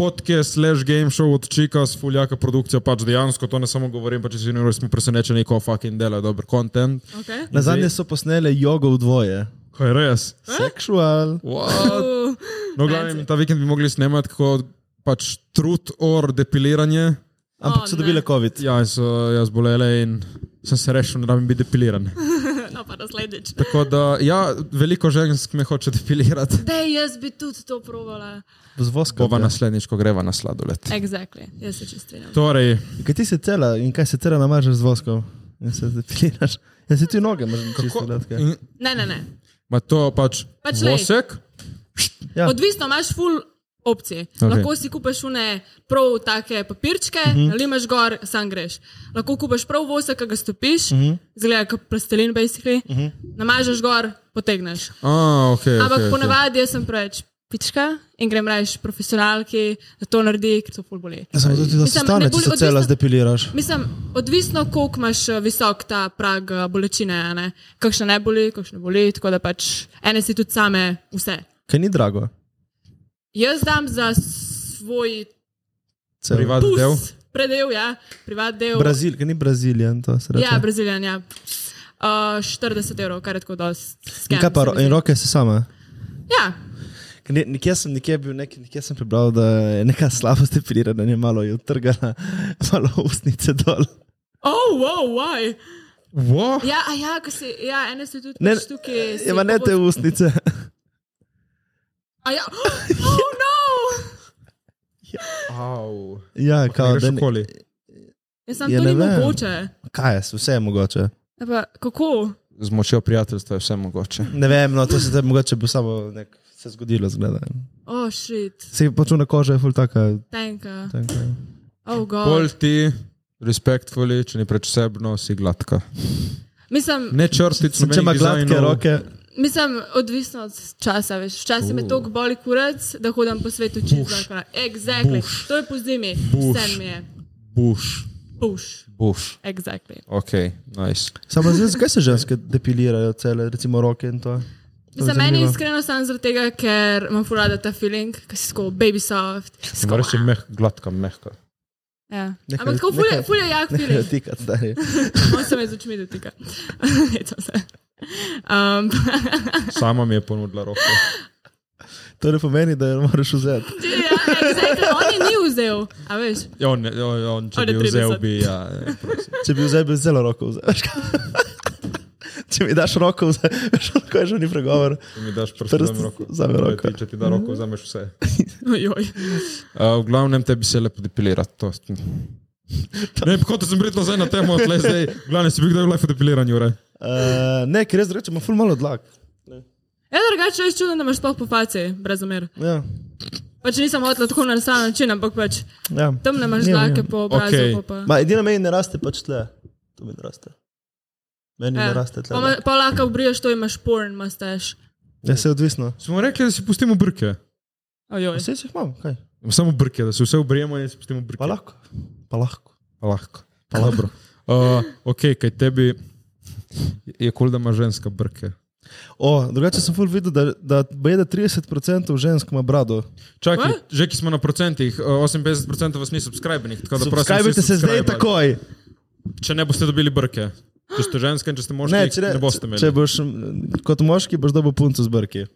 Speaker 2: Podcast, slash game show od Čika, s fuljaka produkcija, pač dejansko, to ne samo govorim, pač si ne smo presenečeni, ko fucking dela dober content.
Speaker 1: Okay?
Speaker 4: Na zadnje so posnele jogo v dvoje.
Speaker 1: Eh?
Speaker 2: Kaj je res?
Speaker 4: Sexual.
Speaker 2: What?
Speaker 1: Uh,
Speaker 2: No, glavno, ta vikend bi mogli snemati, kako pač trud or depiliranje.
Speaker 4: Ampak
Speaker 1: O,
Speaker 4: so dobile
Speaker 1: ne.
Speaker 4: COVID.
Speaker 2: Ja, in so jaz bolele in sem se rešil, ne rabim biti depiliran.
Speaker 1: no, pa naslednjič.
Speaker 2: Tako da, ja, veliko žensk me hoče depilirati.
Speaker 1: Dej, jaz bi tudi to provala.
Speaker 4: Z voskom.
Speaker 2: Bova
Speaker 4: ja.
Speaker 2: naslednjič, ko greva na sladoled.
Speaker 1: Exactly, jaz se čist strinjam.
Speaker 2: Torej,
Speaker 4: Kaj ti se cela in kaj se cela namažeš z voskom? In se depiliraš. Ja, se ti noge imaš čisto gladke.
Speaker 2: in-
Speaker 1: Ne, ne, ne.
Speaker 2: ma to pač,
Speaker 1: Pač
Speaker 2: pač
Speaker 1: lej.
Speaker 2: vosek,
Speaker 4: Ja.
Speaker 1: Odvisno imaš full opcij. Okay. Lahko si kupaš une prav take papirčke, mm -hmm. ali imaš gor, sam greš. Lahko kupaš prav vose, ki ga stopiš, mm -hmm. zgleda kot plastelin, basically. Mm -hmm. Namažeš gor, potegneš.
Speaker 2: a ok.
Speaker 1: Ampak
Speaker 2: okay, okay.
Speaker 1: ponavadi jaz sem preveč pička in grem rajš profesionalki, da to naredi, ker to ful boli.
Speaker 4: Ja, samo tudi za
Speaker 1: Mislim, ne
Speaker 4: sestanek
Speaker 1: boli
Speaker 4: se cela
Speaker 1: odvisno-
Speaker 4: zdepiliraš.
Speaker 1: Mislim, odvisno, koliko imaš eh, visok ta prag eh, bolečine, a ne? kakšne ne boli, kakšne boli, tako da pač ene si tudi same vse.
Speaker 4: Kaj ni drago?
Speaker 1: Jaz dam za svoj
Speaker 4: Celo.
Speaker 2: Privat del.
Speaker 1: pus, predel, ja, privat del.
Speaker 4: Brazil, kaj ni Brazilijan, to se reče.
Speaker 1: ja, Brazilijan, ja. Uh, 40 evrov, kar je tako dosti.
Speaker 4: In
Speaker 1: scam,
Speaker 4: kaj pa
Speaker 1: se
Speaker 4: ro
Speaker 1: mi
Speaker 4: in
Speaker 1: zdi.
Speaker 4: roke se same?
Speaker 1: Ja,
Speaker 4: Ker ne- Nekje sem, nekje bil, nek, nekje sem prebral, da je neka slabost depilirana, je malo je utrgala, malo ustnice dol.
Speaker 1: oh, wow, why?
Speaker 2: Wow.
Speaker 1: Ja, a ja, ko si, ja, ene si tudi
Speaker 4: Ne,
Speaker 1: pač tukaj. si
Speaker 4: Ja, ma ne
Speaker 1: pobo-
Speaker 4: te ustnice.
Speaker 1: A ja, oh no!
Speaker 2: Au.
Speaker 4: Ja,
Speaker 2: Kao,
Speaker 4: kao, da ne,
Speaker 2: školi.
Speaker 1: Jaz sem
Speaker 4: Ja,
Speaker 1: to
Speaker 4: ne
Speaker 1: ni
Speaker 4: vem.
Speaker 1: mogoče.
Speaker 4: kaj je, vse je mogoče.
Speaker 1: Ja, Pa, kako?
Speaker 2: Z močjo prijateljstva je vse mogoče.
Speaker 4: Ne vem, no to se zdaj mogoče bo samo nek, se zgodilo, zgleda.
Speaker 1: Oh, shit,
Speaker 4: Se je počuna koža, je ful taka.
Speaker 1: tenka.
Speaker 4: taka.
Speaker 1: Oh, god.
Speaker 2: Pol ti, respectfully, če ni prečsebno, si gladka.
Speaker 1: Mislim,
Speaker 2: Ne črtic,
Speaker 4: Sem, če ima
Speaker 2: nobenih
Speaker 4: gladke
Speaker 2: dizajnov.
Speaker 4: roke,
Speaker 1: mislim, odvisno od časa. Veš. Včasih me toliko boli kurac, da hodim po svetu
Speaker 2: Buš.
Speaker 1: čisto. Exactly.
Speaker 2: Buš.
Speaker 1: To je po zimi.
Speaker 2: Buš.
Speaker 1: Vse mi je.
Speaker 2: Buš,
Speaker 1: Puš.
Speaker 2: buš.
Speaker 1: Exactly.
Speaker 2: Ok, nice.
Speaker 4: samo zdaj, zakaj se ženske depilirajo, cele, recimo roke in to. To je
Speaker 1: Za meni je
Speaker 4: zanimivo.
Speaker 1: iskreno samo zaradi tega, ker imam furada ta feeling, ki si tako baby soft. si tako,
Speaker 2: Moraš je meh, gladka, mehka.
Speaker 1: Ja.
Speaker 4: Nehaj-
Speaker 1: Ampak tako fulje,
Speaker 4: nehaj-
Speaker 1: fulje jak
Speaker 4: Nehajo
Speaker 1: feeling.
Speaker 4: tikati, stari.
Speaker 1: On se me z očmi dotika. Hecam se. Um,
Speaker 2: Sama mi je ponudila roko.
Speaker 4: To ne pomeni, da jo moraš vzeti.
Speaker 1: ja, exactly. On je ni vzel, a veš.
Speaker 2: Ja, on, ja, ja, on, če
Speaker 1: On je
Speaker 2: bi vzel,
Speaker 1: 30.
Speaker 2: bi. Ja, ja, prosim.
Speaker 4: Če bi vzel, bi zelo roko vzel. veš kaj. Če mi daš roko, vzel, veš, kako je že ni pregovor.
Speaker 2: Če mi daš prst,
Speaker 4: Prst
Speaker 2: vzamem roko.
Speaker 4: vzame
Speaker 2: Torej,
Speaker 4: roko.
Speaker 2: Ti, če ti da roko, vzameš vse.
Speaker 1: Ojoj.
Speaker 2: Uh, v glavnem tebi se lepo depilira. To. Ne, kot sem britno zdaj na temo, tle zdaj. V glavnem si bil kdaj v life depiliranju, re.
Speaker 4: Uh, ne, ker res rečemo, ful malo dlak.
Speaker 1: Ja, drugače je čudno, da imaš sploh po faci, brez omer.
Speaker 4: Ja,
Speaker 1: Pač nisem hotela tako na sam način, ampak pač
Speaker 4: ja.
Speaker 1: tam ne imaš
Speaker 4: Ja,
Speaker 1: dlake
Speaker 4: ja.
Speaker 1: po obrazu.
Speaker 2: Okej.
Speaker 1: Okay. Pa, pa.
Speaker 4: Ma, edina meni ne raste pač tle. To mi ne raste. Meni ja. ne raste tle.
Speaker 1: pa, ma- pa lahko obriješ to, imaš porn, mastaš.
Speaker 4: Ja, se je odvisno.
Speaker 2: Smo rekli, da si pustimo brke.
Speaker 1: Ojoj.
Speaker 4: Vse jih imam, kaj?
Speaker 2: Samo brke, da se vse obrijemo in si pustimo brke.
Speaker 4: Pa lahko. Pa lahko.
Speaker 2: Pa lahko. Pa dobro. Uh, ok, kaj tebi Je kul, da ima ženska brke.
Speaker 4: O, drugače sem ful videl, da, da, baje, da 30% žensk ima brado.
Speaker 2: Čakaj,
Speaker 1: What?
Speaker 2: že ki smo na procentih, eh, 58% vas ni subskrbenih.
Speaker 4: Subskrbite se zdaj takoj.
Speaker 2: Če ne boste dobili brke. Če ste ženske in če ste moški,
Speaker 4: Ne,
Speaker 2: ne,
Speaker 4: če, ne,
Speaker 2: ne boste imeli.
Speaker 4: če boš m, kot moški, boš dobil punco z brki.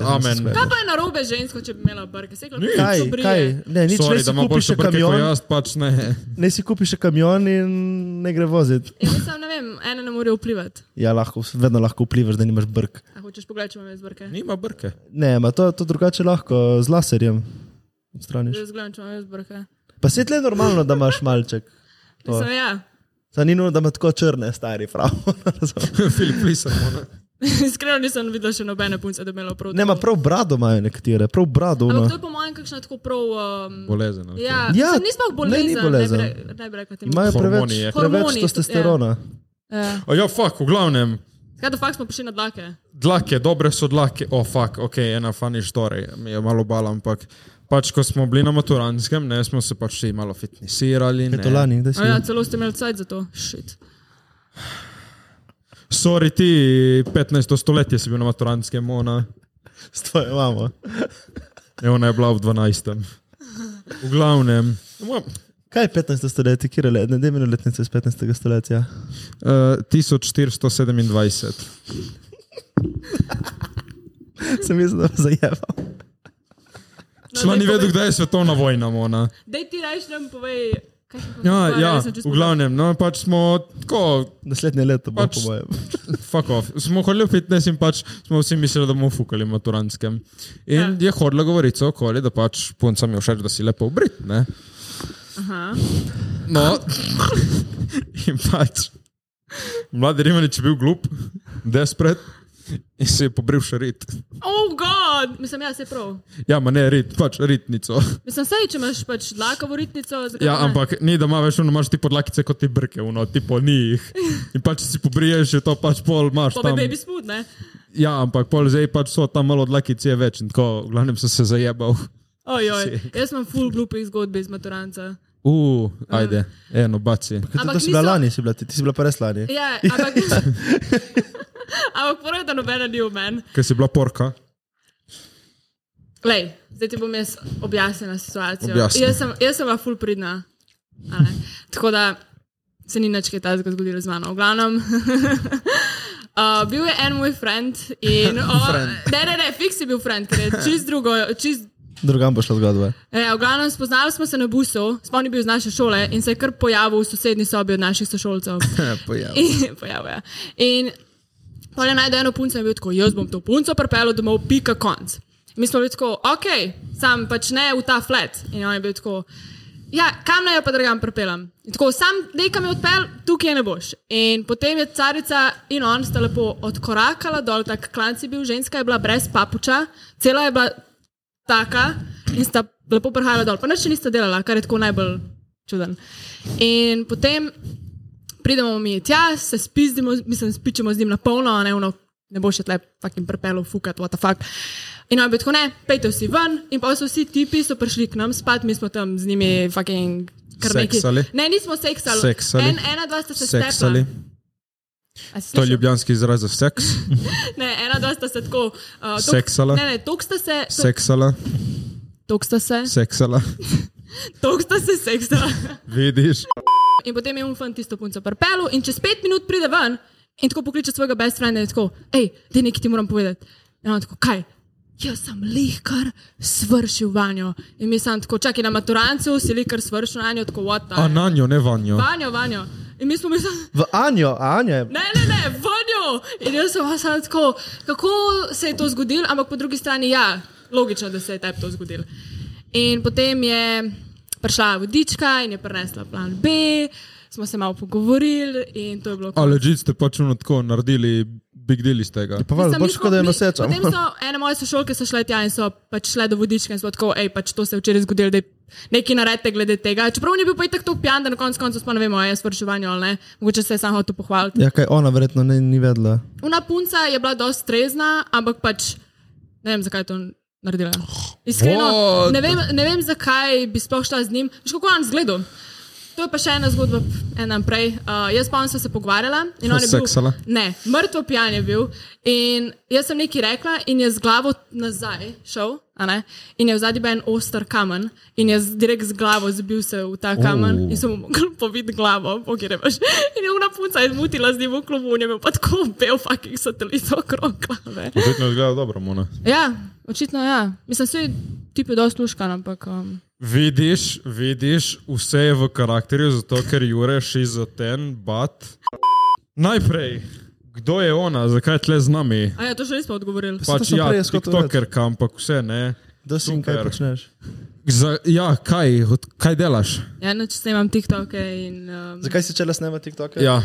Speaker 2: Amen.
Speaker 1: Kaj pa je narobe žensko, če bi imela brke? Saj,
Speaker 2: Nič.
Speaker 4: Kaj,
Speaker 1: so brije.
Speaker 4: kaj? Ne, nič
Speaker 2: Sorry,
Speaker 4: več
Speaker 2: da
Speaker 4: si
Speaker 2: ima
Speaker 4: kupiš
Speaker 2: boljše
Speaker 4: še
Speaker 2: brke kot
Speaker 4: kamion,
Speaker 2: jaz, pač ne.
Speaker 4: ne si kupiš še kamion in ne gre voziti.
Speaker 1: Ja, mislim, ne vem, ena ne more vplivati.
Speaker 4: Ja, lahko, vedno lahko vplivaš, da nimaš brk.
Speaker 1: A hočeš pogledati, če imam jaz brke?
Speaker 2: Nima brke.
Speaker 4: Ne, ma to, to drugače lahko z laserjem odstraniš.
Speaker 1: Že zgledam, če imam jaz brke.
Speaker 4: Pa se tle je normalno, da imaš malček. To.
Speaker 1: Mislim, ja.
Speaker 4: Saj ni nujno, da ima tako črne, stari, prav.
Speaker 2: Filip Lisar.
Speaker 1: Iskreno nisem videla še nobene punce, da bi imela prav.
Speaker 4: ne, ma prav brado imajo nekatere, prav brado. no.
Speaker 1: Ampak
Speaker 4: ono.
Speaker 1: to je po mojem kakšna tako prav. Um,
Speaker 2: Bolezen. ali
Speaker 1: ja,
Speaker 4: Ja,
Speaker 1: ja nismo bolezni.
Speaker 4: ne, ni bolezen.
Speaker 1: Ne bi rekla temu.
Speaker 4: Imajo
Speaker 2: Hormoni,
Speaker 4: preveč,
Speaker 2: je.
Speaker 1: Hormoni,
Speaker 4: preveč testosterona.
Speaker 1: Ja.
Speaker 2: kaj. A Ja, fuk, v glavnem.
Speaker 1: Kaj da fakt smo prišli na dlake?
Speaker 2: Dlake, dobre so dlake, o oh, fuk, ok, ena fani štorej, mi je malo bala, ampak pač ko smo bili na maturanskem, ne, smo se pač vsi malo fitnessirali.
Speaker 4: Je to lani, da si.
Speaker 1: A ja, celo ste imeli cajt za to. Shit.
Speaker 2: Sori ti, 15. stoletje si bil na maturanskem, ona,
Speaker 4: Stoj, imamo.
Speaker 2: ne, ona je bila v 12. V glavnem. Uh,
Speaker 4: Kaj je 15. stoletje, kje je le, ne dejme letnice iz 15. stoletja?
Speaker 2: e, 1427.
Speaker 4: Sem jaz da zajeval.
Speaker 1: No,
Speaker 2: Šla ni vedela, kdaj je svetovna vojna, ona.
Speaker 1: Dej ti reči, nam povej. kaj smo
Speaker 2: Ja,
Speaker 1: pogovarjali,
Speaker 2: ja,
Speaker 1: sem čisto
Speaker 2: v glavnem, no pač smo tako,
Speaker 4: Naslednje leto bo,
Speaker 2: Pač-
Speaker 4: po mojem.
Speaker 2: fuck off. Smo hodili v fitness in pač smo vsi mislili, da bomo fukali v maturanskem. In ja. je hodila govorica okoli, da pač puncam je všeč, da si lepo obrit, ne?
Speaker 1: Aha.
Speaker 2: No, in pač mladi Rimanič je bil glup, despret in se je pobril še rit.
Speaker 1: Oh, god! Mislim, ja, se prav.
Speaker 2: Ja, ma ne rit, pač ritnico.
Speaker 1: Mislim, sej, če imaš pač dlakavo ritnico, zakaj
Speaker 2: Ja,
Speaker 1: pa ne?
Speaker 2: ampak ni, da ima več, no imaš ti podlakice kot ti brke, no, tipo ni jih. In pač če si pobriješ, je to pač pol imaš.
Speaker 1: Pa
Speaker 2: tam.
Speaker 1: bi baby smooth, ne?
Speaker 2: Ja, ampak pol zdaj pač so tam malo dlakic je več in tako, v glavnem sem se zajebal.
Speaker 1: Ojoj, jaz imam full glupih zgodb iz maturanca.
Speaker 2: Uf, Uh, ajde, eno baci.
Speaker 4: Kaj to,
Speaker 1: Ampak
Speaker 4: to si bila
Speaker 1: niso-
Speaker 4: lani, si bila ti, ti si bila pa res lani.
Speaker 1: Ja, ampak... ampak prvo, da nobena ni v meni.
Speaker 2: Ker si bila porka.
Speaker 1: Lej, zdaj ti bom jaz objasnila situacijo.
Speaker 2: Objasni.
Speaker 1: Jaz sem, jaz sem bila ful pridna. a ne. Tako da se ni nič kaj takega zgodilo z mano. V glavnem. Uh, bil je en moj friend in. O, ne, ne, ne, fiks je bil friend, ker je čist drugo, čist
Speaker 4: Drugam bo šla zgodba.
Speaker 1: Ja, v glavnem spoznali smo se na busu, sploh ni bil iz naše šole in se je kar pojavil v sosednji sobi od naših sošolcev. In- Pojavil je. In pa je najdel eno punco in je bil tako, jaz bom to punco pripeljal domov, pika konc. Mi smo bili tako, ok, sam pač ne v ta flat. In on je bil tako, ja, kam naj jo pa drugam pripeljem. In Tako, sam nekam je odpel, tukaj je ne boš. In potem je carica in on sta lepo odkorakala dol, tak klanc je bil, ženska je bila brez papuča, cela je bila taka in sta lepo prihajala dol. Pa nič še nista delala, kar je tako najbolj čuden. In potem pridemo mi tja, se spizdimo, mislim, spičemo z njim na polno, ne, ono, ne bo še tle fucking prepelo, fukat, what the fuck. In on je bil tako, ne, pejte vsi ven, in pa so vsi tipi so prišli k nam spat, mi smo tam z njimi fucking kar neki.
Speaker 2: Seksali?
Speaker 1: Ne, nismo seksali.
Speaker 2: Seksali.
Speaker 1: En, ena, dva sta se
Speaker 2: Seksali.
Speaker 1: Stepla.
Speaker 2: To je ljubljanski izraz za seks.
Speaker 1: Ne, ena, dva sta se tako. Uh,
Speaker 2: Seksala?
Speaker 1: Ne, ne, tok sta se.
Speaker 2: Seksala,
Speaker 1: Tok sta se.
Speaker 2: seksala.
Speaker 1: Tok sta se seksala.
Speaker 2: Vidiš?
Speaker 1: In potem je umfant tisto punco prpelo in čez pet minut pride ven in tako pokliče svojega best frienda in je tako, hej, te nekaj ti moram povedati. In on tako, kaj? Jaz sem lihkar svršil vanjo. In mi sem tako, čakaj na maturancu, si lihkar svršil vanjo, tako vata.
Speaker 2: A no. na njo, ne vanjo.
Speaker 1: Vanjo, vanjo. In mi smo mislili,
Speaker 4: V Anjo, a Anja je.
Speaker 1: ne, ne, ne, vanjo. In jaz sem vas tako, kako se je to zgodilo, ampak po drugi strani, ja, logično, da se je tebi to zgodilo. In potem je prišla vodička in je prinesla plan B, smo se malo pogovorili in to je bilo.
Speaker 2: A ležite ste pač ono tako naredili, big deal iz tega.
Speaker 4: Pa valjda, boš kot da je noseča.
Speaker 1: Potem so ene moje sošolke so šle tja in so pač šle do vodička in so tako, hej, pač to se je včeraj zgodilo, da nekaj naredite glede tega. Čeprav ni bil pa itak tako pijan, da na koncu koncev sploh ne vemo, a je svrševanje ali ne. Mogoče se je samo hotel pohvaliti.
Speaker 4: Ja, kaj ona verjetno ne, ni vedela.
Speaker 1: Una punca je bila dosti trezna, ampak pač ne vem, zakaj je to naredila. Iskreno,
Speaker 2: What?
Speaker 1: ne vem, ne vem, zakaj bi sploh šla z njim. Že kako je on zgledal. To je pa še ena zgodba, ena prej. Uh, jaz pa sem se pogovarjala in
Speaker 2: Sva
Speaker 1: on je bil.
Speaker 2: seksala?
Speaker 1: Ne, mrtvo pijan je bil. In jaz sem nekaj rekla in je z glavo nazaj šel, a ne, in je v zadnji bil en oster kamen in je z- direkt z glavo zbil se v ta kamen in sem mu mogla poviti glavo, pokjer je pač. In je ona punca izmutila z njim v klubu, in je imel pa tako bel fucking satelit okrog glave.
Speaker 2: Očitno izgleda dobro, Mona.
Speaker 1: Ja, očitno ja. Mislim, vse ti je dosti luškan, ampak. Um,
Speaker 2: Vidiš, vidiš, vse je v karakterju, zato ker jureš iz ten bat. Najprej, kdo je ona, zakaj je tle z nami?
Speaker 1: a ja, to še nismo odgovorili.
Speaker 4: to
Speaker 2: Pač
Speaker 4: sem
Speaker 2: ja,
Speaker 4: prej jaz hotel reči.
Speaker 2: tiktokerka, ampak vse ne.
Speaker 4: Da si in kaj
Speaker 2: Super.
Speaker 4: počneš.
Speaker 2: Za, ja, kaj, od, kaj delaš?
Speaker 1: Ja, noč snemam TikToke in. Um,
Speaker 4: Zakaj si čela snema TikTok?
Speaker 2: Ja,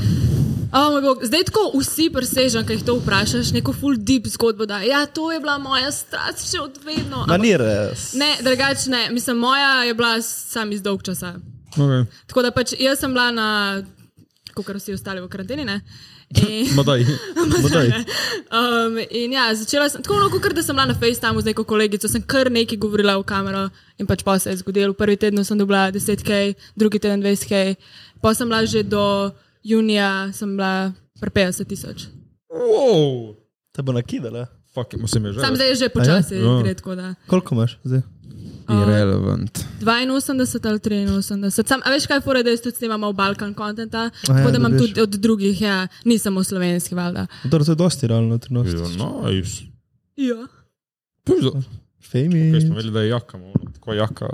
Speaker 1: oh, moj bog, zdaj tako vsi presežem, ki jih to vprašaš, neko full deep zgodbo da. Ja, to je bila moja strast še od vedno.
Speaker 4: Ma
Speaker 1: ampak-
Speaker 4: ni res.
Speaker 1: Ne, drugačne. Mislim, moja je bila sam iz dolg časa.
Speaker 2: okay.
Speaker 1: Tako da pač jaz sem bila na, kot vsi ostali v karanteni, ne. In,
Speaker 2: ma daj.
Speaker 4: Bodaj.
Speaker 1: Um, in ja, začela sem tako, no, kot da sem bila na FaceTimeu z neko kolegico, sem kar nekaj govorila v kamero in pač pa se je zgodilo. Prvi teden sem dobila 10k, drugi teden 20k, pa sem bila že do junija, sem bila pri 50 tisoč.
Speaker 2: Wow,
Speaker 4: Te bo nakidala.
Speaker 2: fuck, mu se mi je že.
Speaker 1: Sam zdaj že počasi
Speaker 2: Ja.
Speaker 1: gre tako da.
Speaker 4: Koliko imaš zdaj?
Speaker 2: Irrelevant.
Speaker 1: 82 ali 83. Sam, a veš kaj, fore, da jaz tudi snimam malo Balkan content,
Speaker 4: A ja,
Speaker 1: tako da imam
Speaker 4: dobiš.
Speaker 1: tudi od drugih, ja, ni samo slovenski, valjda.
Speaker 4: Dobro, to je dosti realno,
Speaker 1: no.
Speaker 4: 13.
Speaker 2: Nice.
Speaker 1: Ja.
Speaker 2: Pizda. Kaj smo
Speaker 4: Femi.
Speaker 2: vedeli, da je jaka, ono, tako jaka.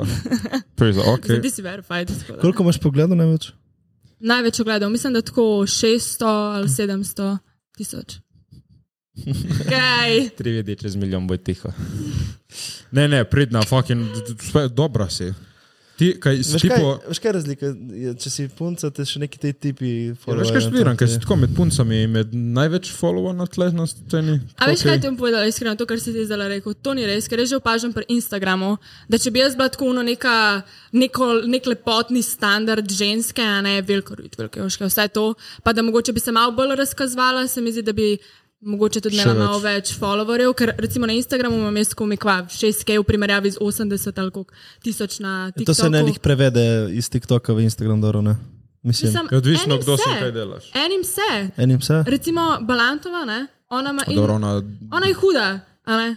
Speaker 2: Pizda, ok.
Speaker 1: Okay. Zdaj si verified. tako da.
Speaker 4: Koliko imaš pogledov največ?
Speaker 1: Največ ogledov, mislim, da tako 600 ali 700 tisoč. Kaj?
Speaker 2: Tri vedi čez milijon bo tiho. Ne, ne, pridna, fucking, sve, dobra si. Ti, kaj, si
Speaker 4: Veš kaj,
Speaker 2: tipo...
Speaker 4: veš kaj je razlika? Je, Če si punca, te še neki te tipi.
Speaker 2: Ja, Veš, kaj špiram, kaj si tako med puncami, med največ followa na tle na sceni.
Speaker 1: A veš, kaj ti
Speaker 2: Okej.
Speaker 1: bom povedala, iskreno, to, kar si ti zdaj rekel, to ni res, ker jaz že opažam pri Instagramu, da če bi jaz bila tako ono neka, neko, nek lepotni standard ženske, a ne veliko rud, velike oške, vse to, pa da mogoče bi se malo bolj razkazovala, se mi zdi, da bi mogoče tudi
Speaker 2: Še
Speaker 1: imela malo več followerjev, ker recimo na Instagramu imam jaz komikva 6K v primerjavi z 80 ali koliko tisoč na TikToku.
Speaker 4: To se ne njih prevede iz TikToka v Instagram, dobro ne? Mislim,
Speaker 1: Mislim,
Speaker 2: Je Ja, odvisno,
Speaker 1: enim
Speaker 2: kdo si
Speaker 1: se,
Speaker 2: in kaj delaš.
Speaker 1: Enim se.
Speaker 4: enim se.
Speaker 1: Recimo Balantova, ne? Ona, ima in,
Speaker 2: Dobro, ona...
Speaker 1: ona je huda, a ne?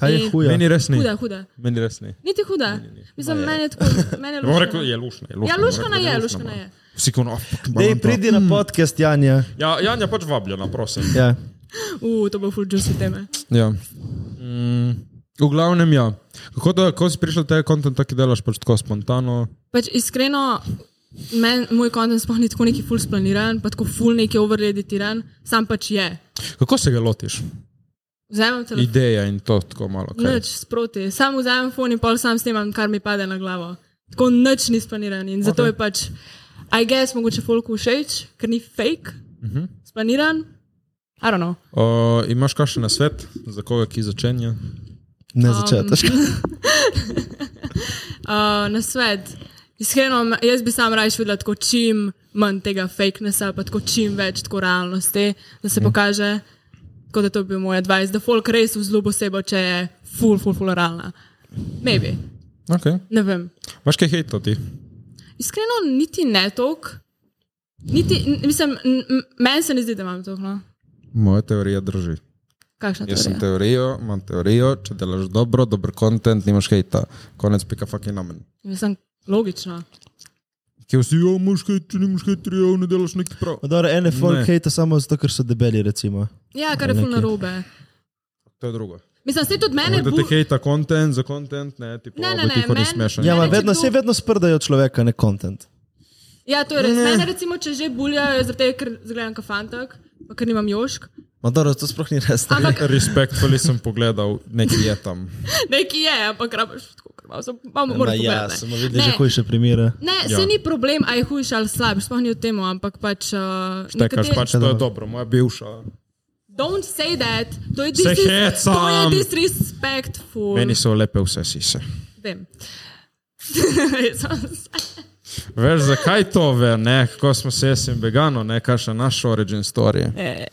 Speaker 4: Kaj je
Speaker 1: In-
Speaker 4: huja?
Speaker 2: Meni res ni.
Speaker 1: Huda, huda.
Speaker 2: Meni res ni.
Speaker 1: Niti huda. Mislim, meni je tako. Meni je
Speaker 2: Ne bom
Speaker 1: luškana.
Speaker 2: rekel, je lušna. Je lušna
Speaker 1: Ja,
Speaker 2: bom
Speaker 1: luškana
Speaker 2: rekel, da
Speaker 1: je, luškana
Speaker 2: moram.
Speaker 1: je.
Speaker 2: Vsi kono, oh, fucking
Speaker 4: Dej,
Speaker 2: balanta.
Speaker 4: pridi
Speaker 1: Hmm.
Speaker 4: na podcast, Janja.
Speaker 2: Ja, Janja pač vabljena, prosim.
Speaker 4: Ja.
Speaker 1: U, to bo full juicy teme.
Speaker 2: Ja. Mm, v glavnem, ja. Kako, da, kako si prišel do tega konta, ki delaš pač tako spontano?
Speaker 1: Pač iskreno, men, moj kontent sploh ni tako neki full splaniran, pa tako full neki overreditiran, sam pač je.
Speaker 2: Kako se ga lotiš?
Speaker 1: Vzamem telefon,
Speaker 2: Ideja in to tako malo. Kaj.
Speaker 1: nič sproti, sam vzamem fon in pol sam snemam, kar mi pade na glavo. Tako nič ni splaniran in zato okay. je pač, I guess, mogoče folku všeč, ker ni fake, uh -huh. splaniran. I don't know.
Speaker 2: O, imaš kakšen nasvet za koga, ki začenja?
Speaker 4: Ne
Speaker 1: Um.
Speaker 4: začetaš.
Speaker 1: Uh, na svet. Iskreno, jaz bi sam raje videla tako čim manj tega fakenessa, pa tako čim več tako realnosti, da se pokaže. Tako da to bi bil moj advice, da folk res vzljubi osebo, če je full, full, full realna. Maybe,
Speaker 2: Okay.
Speaker 1: ne vem.
Speaker 2: Imaš kaj hejta ti?
Speaker 1: Iskreno, niti ne tok. Niti, n- mislim, n- m- meni se ne zdi, da imam to. No?
Speaker 2: Moja teorija drži.
Speaker 1: Kakšna
Speaker 2: Jaz sem
Speaker 1: teorija?
Speaker 2: teorijo, imam teorijo, če delaš dobro, dober kontent, nimaš hejta. Konec pika fucking namen.
Speaker 1: Mislim, logično.
Speaker 2: Ki vsi, jo, imaš kaj, če nimaš kaj, tri, jo, ne delaš nekaj prav.
Speaker 4: Ma Dobro, ene
Speaker 2: Ne.
Speaker 4: folk hejta samo zato, ker so debeli, recimo.
Speaker 1: Ja, kar je full
Speaker 4: Nekaj.
Speaker 1: narobe.
Speaker 2: To je drugo.
Speaker 1: Mislim, se tudi mene
Speaker 2: Ampak da te
Speaker 1: bu-
Speaker 2: hejta kontent za kontent, ne, ti
Speaker 1: Ne, ne,
Speaker 2: pa
Speaker 1: ne,
Speaker 2: ti hodi
Speaker 1: meni-
Speaker 2: smešen.
Speaker 4: Ja, ma
Speaker 1: Mene če
Speaker 4: vedno,
Speaker 1: kdo-
Speaker 4: vse vedno sprdajo človeka, ne kontent.
Speaker 1: Ja, to je res. Mene, recimo, če že buljajo, je zaradi tega, ker zgledam kot fantak, pa ker nimam jošk.
Speaker 4: Dobro, to sploh ni res. ne.
Speaker 1: Ampak
Speaker 2: Respektfully Ja, sem pogledal, nekaj je tam.
Speaker 1: neki je, ampak rabaš tako, ker malo sem- malo
Speaker 4: Ma
Speaker 1: moram
Speaker 4: Ja,
Speaker 1: pogledati,
Speaker 4: smo
Speaker 1: ne.
Speaker 4: videli že
Speaker 1: Ne,
Speaker 4: hujše primere.
Speaker 1: Ne,
Speaker 2: Ja.
Speaker 1: se ni problem, aj hujš ali slab, sploh ni v tem, ampak pač. Uh,
Speaker 2: Tekaš
Speaker 1: nekateri-
Speaker 2: pač, to je dobro, moja bivša.
Speaker 1: Don't say that, to je,
Speaker 2: Se
Speaker 1: disres- to je
Speaker 2: hecam.
Speaker 1: disrespectful.
Speaker 2: Meni so lepe vse sise.
Speaker 1: Vem.
Speaker 2: Veš, zakaj to ve, ne? kako smo se jaz in vegano, ne, kaj še naš origin story.
Speaker 1: E.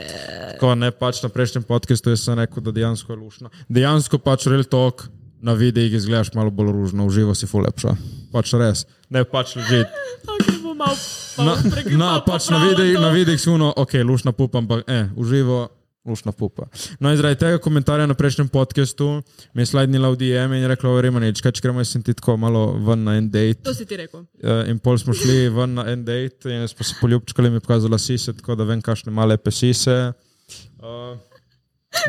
Speaker 2: Tako ne, pač na prejšnjem podkastu jaz sem rekel, da dejansko je lušno. Dejansko pač real talk, na videih izgledaš malo bolj ružno, uživo si fulepša. Pač res, ne pač ležit.
Speaker 1: malo
Speaker 2: Na,
Speaker 1: pregledal.
Speaker 2: na, pač na vidih, na vidih suno, ok, lušna pupa, ampak eh, uživo. Lušna pupa. No, in zaradi tega komentarja na prejšnjem podkastu mi je slajdnila v DM in je rekla: Verjamem, nečkaj, če gremo, jaz sem ti tako malo ven na en date.
Speaker 1: To si ti rekel.
Speaker 2: Eh, In pol smo šli ven na en dejt, in smo se poljubčkali, mi je pokazala sise, tako da vem, kakšne male pesise. Uh,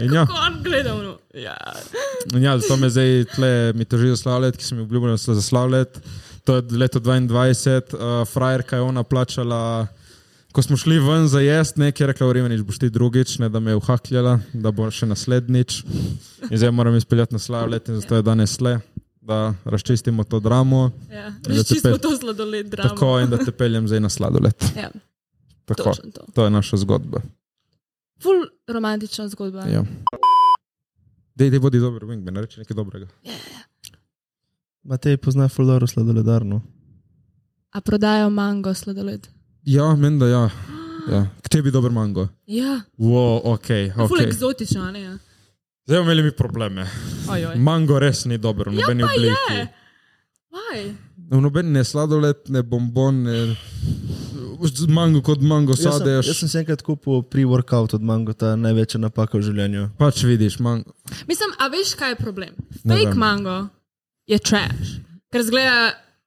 Speaker 2: in ja,
Speaker 1: Ko on gleda, no. Ja.
Speaker 2: in ja, zato me zdaj tle mi teži zaslavljati, ki sem jih obljubil zaslavljati. To je leto 22, uh, frajerka je ona plačala. Ko smo šli ven za jesti, nekaj je rekla, vremenič boš ti drugič, ne da me je uhakljala, da bo še naslednjič. In zdaj moram izpeljati naslavljati, in zato je danes le, da razčistimo to dramo.
Speaker 1: ja.
Speaker 2: Ja, da te
Speaker 1: Čisto
Speaker 2: pe-
Speaker 1: to sladoled drama.
Speaker 2: Tako in da te peljem zdaj na sladoled.
Speaker 1: Ja,
Speaker 2: Tako.
Speaker 1: točno to.
Speaker 2: To je naša zgodba.
Speaker 1: Ful romantična zgodba.
Speaker 2: Ja. Dej, dej, bodi dober, Wingman, reči nekaj dobrega.
Speaker 4: Matej pozna Fuldoro sladoledarno.
Speaker 1: A prodajo mango sladoled.
Speaker 2: Ja, meni da ja. ja. K tebi dober mango.
Speaker 1: Ja,
Speaker 2: Wow, ok.
Speaker 1: okay. ful
Speaker 2: okay.
Speaker 1: eksotično, a ne? ja.
Speaker 2: Zdaj bomo imeli mi probleme.
Speaker 1: Ojoj.
Speaker 2: Mango res ni dober, v nobeni ja, obliki.
Speaker 1: je. Vaj.
Speaker 2: V nobeni ne sladoled, ne bombon, ne... Z mango kot mango
Speaker 4: Jaz sem,
Speaker 2: sadeš.
Speaker 4: jaz sem si enkrat kupil pri workoutu od Mangota, največja napaka v življenju.
Speaker 2: Pač vidiš, mango.
Speaker 1: Mislim, a veš, kaj je problem?
Speaker 2: Ne
Speaker 1: Fake
Speaker 2: vem.
Speaker 1: mango je trash. Ker zgleda,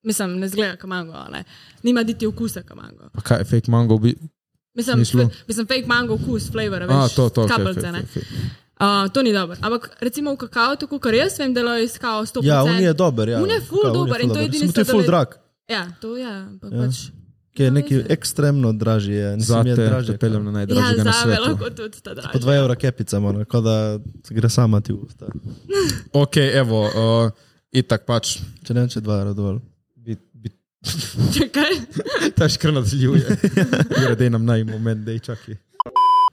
Speaker 1: mislim, ne zgleda kot mango, a ne. Nima niti okusa kot mango.
Speaker 2: Pa kaj je fake mango? Bi...
Speaker 1: Mislim,
Speaker 2: Smislu?
Speaker 1: fe, mislim, fake mango okus, flavor, Ja, veš,
Speaker 2: A, to, to, okay,
Speaker 1: kapljice,
Speaker 2: okay,
Speaker 1: ne.
Speaker 2: okay, okay.
Speaker 1: Uh, to ni dobro. Ampak recimo v kakao, tako kot jaz vem, delajo iz kao 100%.
Speaker 4: Ja, on je dober. Ja.
Speaker 1: On je ful
Speaker 4: Kaj, on
Speaker 1: dober in to je edini
Speaker 4: Samo to je ful
Speaker 1: sladoled.
Speaker 4: drag,
Speaker 1: Ja, to je, ampak ja. pač.
Speaker 4: ki je neki ekstremno dražji. Je. Mislim,
Speaker 2: Zate
Speaker 4: je
Speaker 2: te
Speaker 4: dražji.
Speaker 2: peljem na
Speaker 1: Ja,
Speaker 2: najdražjega ja, na
Speaker 1: zave
Speaker 2: svetu.
Speaker 1: lahko tudi ta
Speaker 4: Po
Speaker 1: draž.
Speaker 4: 2 evra kepica, mora, kot da gre sama ti v usta.
Speaker 2: Ok, evo, uh, itak pač.
Speaker 4: Če ne, vem, če 2 evra dovolj.
Speaker 2: Bi, bi
Speaker 1: Čakaj.
Speaker 2: Ta škrla zljuje. Grede nam naj moment, da je čakaj.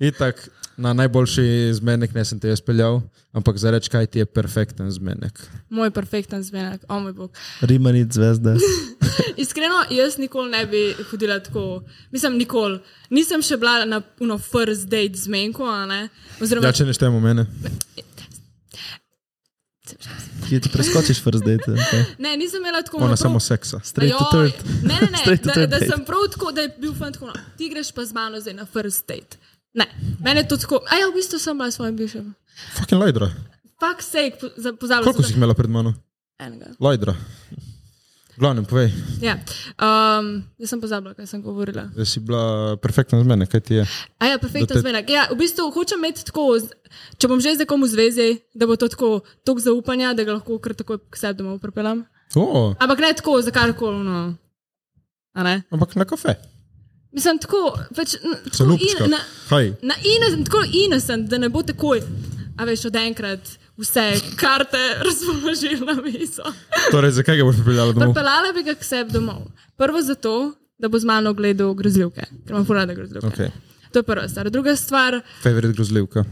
Speaker 2: Itak, na najboljši zmenek ne sem te jaz peljal, ampak za reč, kaj ti je perfekten zmenek.
Speaker 1: Moj perfekten zmenek, o moj bog.
Speaker 4: Rimanit zvezde.
Speaker 1: Iskreno, jaz nikoli ne bi hodila tako. Mislim, nikoli. Nisem še bila na uno first date zmenku, a ne. Oziroma,
Speaker 2: Ja, če ne štejemo mene.
Speaker 4: Ki ti preskočiš first date. in to.
Speaker 1: ne, nisem imela tako.
Speaker 2: Ona
Speaker 1: ono
Speaker 2: samo
Speaker 1: prav-
Speaker 2: seksa.
Speaker 4: Straight to
Speaker 1: Ajoj,
Speaker 4: third.
Speaker 1: Ne, ne, ne
Speaker 4: Straight to
Speaker 1: da,
Speaker 4: third
Speaker 1: da
Speaker 4: date.
Speaker 1: sem prav tako, da je bil fant tako. No, ti greš pa z mano zdaj na first date. Ne, mene je to tako. A ja, v bistvu sem bila s svojim bivšim.
Speaker 2: Fucking lajdra.
Speaker 1: Fak sejk, pozabila
Speaker 2: Koliko si
Speaker 1: sem.
Speaker 2: jih imela pred mano?
Speaker 1: da- Enega.
Speaker 2: Lajdra. Glavnem, povej,
Speaker 1: Ja, um, jaz sem pozabila, kaj sem govorila.
Speaker 2: da si bila perfekten zmenek, kaj ti je.
Speaker 1: A ja, perfekten
Speaker 2: Da te-
Speaker 1: zmenek. Ja, v bistvu hočem imeti tako, z- če bom že z nekom v zvezi, da bo to tako tok zaupanja, da ga lahko kar takoj k sebi domov pripeljem.
Speaker 2: O,
Speaker 1: Ampak ne tako, za kar koli. No. A ne?
Speaker 2: ampak na kafe.
Speaker 1: Mislim, tako, pač, n-
Speaker 2: Se
Speaker 1: tako
Speaker 2: lupčka.
Speaker 1: in- na,
Speaker 2: Kaj?
Speaker 1: na ines, tako inesen, da ne bo takoj, a veš, odenkrat vse karte razpoložil na mizo.
Speaker 2: Torej, zakaj ga boš pripeljala domov?
Speaker 1: Pripeljala bi ga k sebi domov. Prvo zato, da bo z mano gledal grozljivke, ker imam porade grozljivke.
Speaker 2: Ok.
Speaker 1: To je prva stvar. Druga stvar,
Speaker 2: Favorit grozljivka.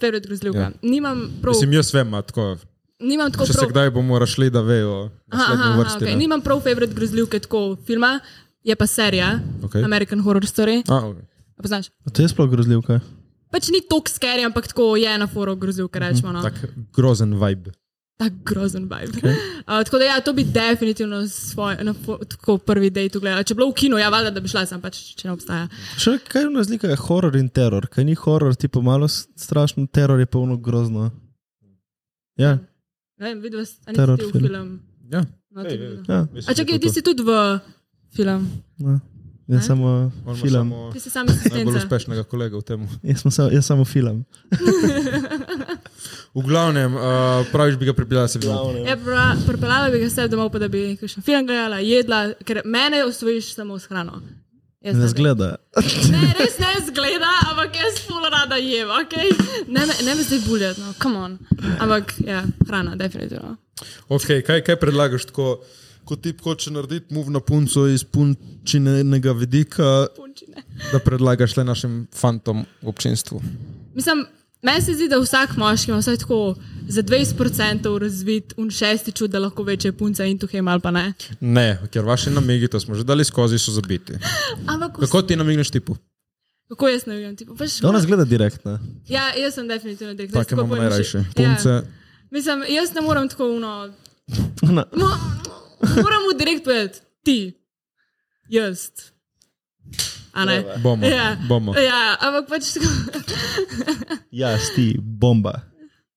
Speaker 1: favorit grozljivka.
Speaker 2: Ja.
Speaker 1: Ja. Nimam prav,
Speaker 2: Mislim, jaz vem, a tako.
Speaker 1: nimam tako
Speaker 2: Če se
Speaker 1: prav.
Speaker 2: kdaj bomo rašli, da vejo.
Speaker 1: Aha, aha, aha, okay.
Speaker 2: Nima.
Speaker 1: Nimam prav favorit grozljivke tako filma, je pa serija
Speaker 2: Okej.
Speaker 1: okay. American Horror Story.
Speaker 2: A, okay.
Speaker 1: A Poznaš?
Speaker 4: A To je sploh grozljivka.
Speaker 1: Pač ni tok skeri, ampak tako je na foru grozljivka, rečemo. No.
Speaker 2: Mhm, Tak grozen vibe.
Speaker 1: Tak grozen vibe. Okay. Uh, tako da ja, to bi definitivno svoj, na fo- tako prvi dejtu gledala. Če bi bila v kinu, ja, valjda, da bi šla sem, pač, če ne obstaja.
Speaker 4: Še kaj je razlika je horor in teror. Kaj ni horor, ti pa malo s- strašno, teror je pa ono grozno. Ja,
Speaker 1: Ne vem, videl sem
Speaker 4: Terror
Speaker 1: ti v
Speaker 4: film.
Speaker 1: film.
Speaker 2: Ja.
Speaker 1: No, to bi bilo.
Speaker 4: ja.
Speaker 1: A čakaj, ti si tudi v film.
Speaker 4: ja. Jaz samo film.
Speaker 1: Ti si sam asistent.
Speaker 2: Najbolj uspešnega kolega v tem.
Speaker 4: Jaz, sem samo- jaz samo film.
Speaker 2: V glavnem, uh, praviš, bi ga pripeljala sebi. domov.
Speaker 1: Ja, pra- pripeljala bi ga vse domov, pa da bi kakšen film gledala, jedla, ker mene osvojiš samo s hrano. Jaz
Speaker 4: Ne
Speaker 1: vem.
Speaker 4: zgleda.
Speaker 1: Ne, res ne zgleda, ampak jaz pol rada jem, ok? Ne, me- ne me zdaj buljati, no, come on. Ampak, ja, hrana, definitivno.
Speaker 2: Okay, kaj, kaj predlagaš tako? Ko ti hoče narediti mov na punco iz punčinega vidika,
Speaker 1: Punčine.
Speaker 2: da predlagaš le našim fantom v občinstvu.
Speaker 1: Mislim, meni se zdi, da vsak moški ima vsaj tako za 20% razvit un šesti čut, da lahko veče punca in tuhem ali pa ne.
Speaker 2: Ne, ker vaši namigi, to smo že dali skozi, so zabiti.
Speaker 1: Ampak, kako,
Speaker 2: Kako ti namigneš tipu?
Speaker 1: kako jaz ne vem, tipo, pač,
Speaker 4: Ona zgleda direktno.
Speaker 1: ja, jaz sem definitivno direkt.
Speaker 2: Take imamo najrajše. Punce,
Speaker 1: Ja. Mislim, jaz ne morem tako no. uno.
Speaker 4: Ona,
Speaker 1: Mo, moram mu direkt povedati, ti. jaz. A ne?
Speaker 2: Bomo,
Speaker 1: Ja,
Speaker 2: bomo.
Speaker 1: ja, ampak pač tako.
Speaker 4: Ja, sti, bomba.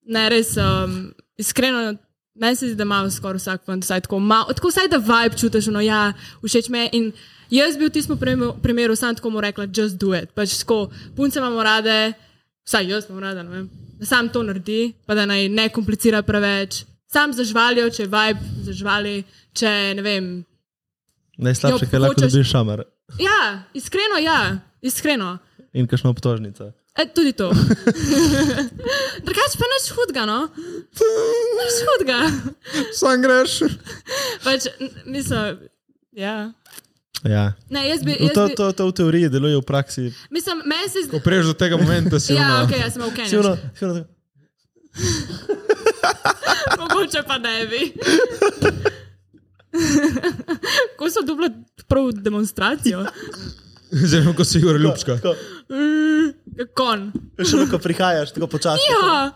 Speaker 1: Ne, res, um, iskreno, meni se zdi, da ima skoraj vsak fant, vsaj tako malo, tako vsaj da vibe čutiš, no ja, všeč me je. In jaz bi v tistem primeru, primeru sam tako mu rekla, just do it. Pač tako, punce imamo rade, vsaj jaz imam rada, ne vem, da sam to naredi, pa da naj ne komplicira preveč. Sam zažvalijo, če je vibe, zažvali, če ne vem,
Speaker 4: Najslabše,
Speaker 1: Jo,
Speaker 4: kar lahko
Speaker 1: hočeš-
Speaker 4: dobiš šamar
Speaker 1: Ja, iskreno, ja, iskreno.
Speaker 4: in kakšno obtožnico.
Speaker 1: E, tudi to. Drugač pa nič hudega, no? Nič hudega.
Speaker 5: Sam greš.
Speaker 1: Pač, n- mislim, ja.
Speaker 4: Ja.
Speaker 1: Ne, jaz bi.
Speaker 4: V
Speaker 1: Jaz
Speaker 4: To,
Speaker 1: bi
Speaker 4: to, to v teoriji deluje, v praksi.
Speaker 1: mislim, meni se zdi.
Speaker 2: Ko priješ do tega momento, si
Speaker 1: Ja,
Speaker 2: ono-
Speaker 1: ok, jaz sem v Keniji.
Speaker 4: Sigurno, sigurno,
Speaker 1: Mogoče pa ne bi. Ko so dobili prav demonstracijo,
Speaker 2: Zdaj, ko si Igor Ljubska.
Speaker 4: tako,
Speaker 1: Mm, kon.
Speaker 4: še vedno, ko prihajaš, tako počasi.
Speaker 1: Ja.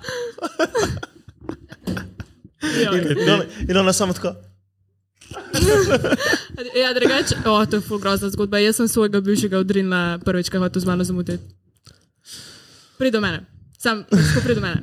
Speaker 4: In, in, ona, in ona samo tako.
Speaker 1: Ja, drugače, o, to je ful grozna zgodba. Jaz sem svojega bivšega odrinila prvič, kaj hoče z mano zamuditi. Pridi do mene, sam, ko pridi do mene.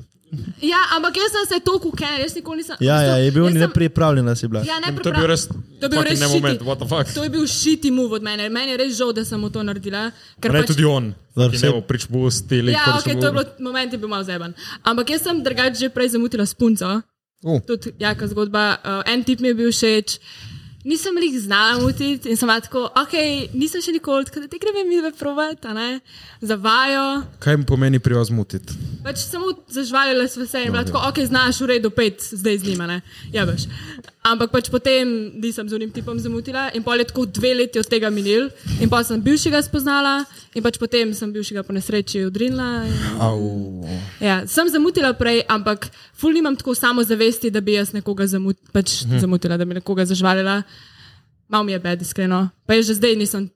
Speaker 1: Ja, ampak jaz sem se toliko ukenil, jaz nikoli nisem.
Speaker 4: Ja, ja, je bil
Speaker 1: jaz sem-
Speaker 4: nepripravljen, si bila.
Speaker 1: Ja, ne,
Speaker 2: To je bil res...
Speaker 1: To je bil res
Speaker 2: fucking ne moment,
Speaker 1: shitty.
Speaker 2: what the fuck.
Speaker 1: To je bil šiti mov od mene. Meni je res žal, da sem mu to naredila. ker
Speaker 2: Ne,
Speaker 1: pač-
Speaker 2: tudi on.
Speaker 4: Dobro,
Speaker 2: Ki
Speaker 4: vse-
Speaker 2: ne bo prič bus, ti lik.
Speaker 1: Ja, ok, to je bilo, moment je bil malo zeben. Ampak jaz sem drugače že prej zamutila s punco.
Speaker 2: Uh.
Speaker 1: Tudi jaka zgodba. Uh, en tip mi je bil všeč. Nisem jih znala mutiti in sem bila tako, ok, nisem še nikoli, tako da te gremo mi dve provat, a ne, za vajo.
Speaker 2: Kaj mi pomeni pri vas mutiti?
Speaker 1: Pač samo zažvalila sva se in bila tako, ok, znaš v redu pet, zdaj z njima, ne, jebeš. Ampak pač potem nisem z unim tipom zamutila in pol je tako dve leti od tega minil in pa sem bivšega spoznala in pač potem sem bivšega po nesreči odrinila. In...
Speaker 2: Au.
Speaker 1: Ja, sem zamutila prej, ampak ful nimam tako samozavesti, da bi jaz nekoga zamut, pač mhm. zamutila, da bi nekoga zažvalila. Mal mi je bed, iskreno. Pa je že zdaj nisem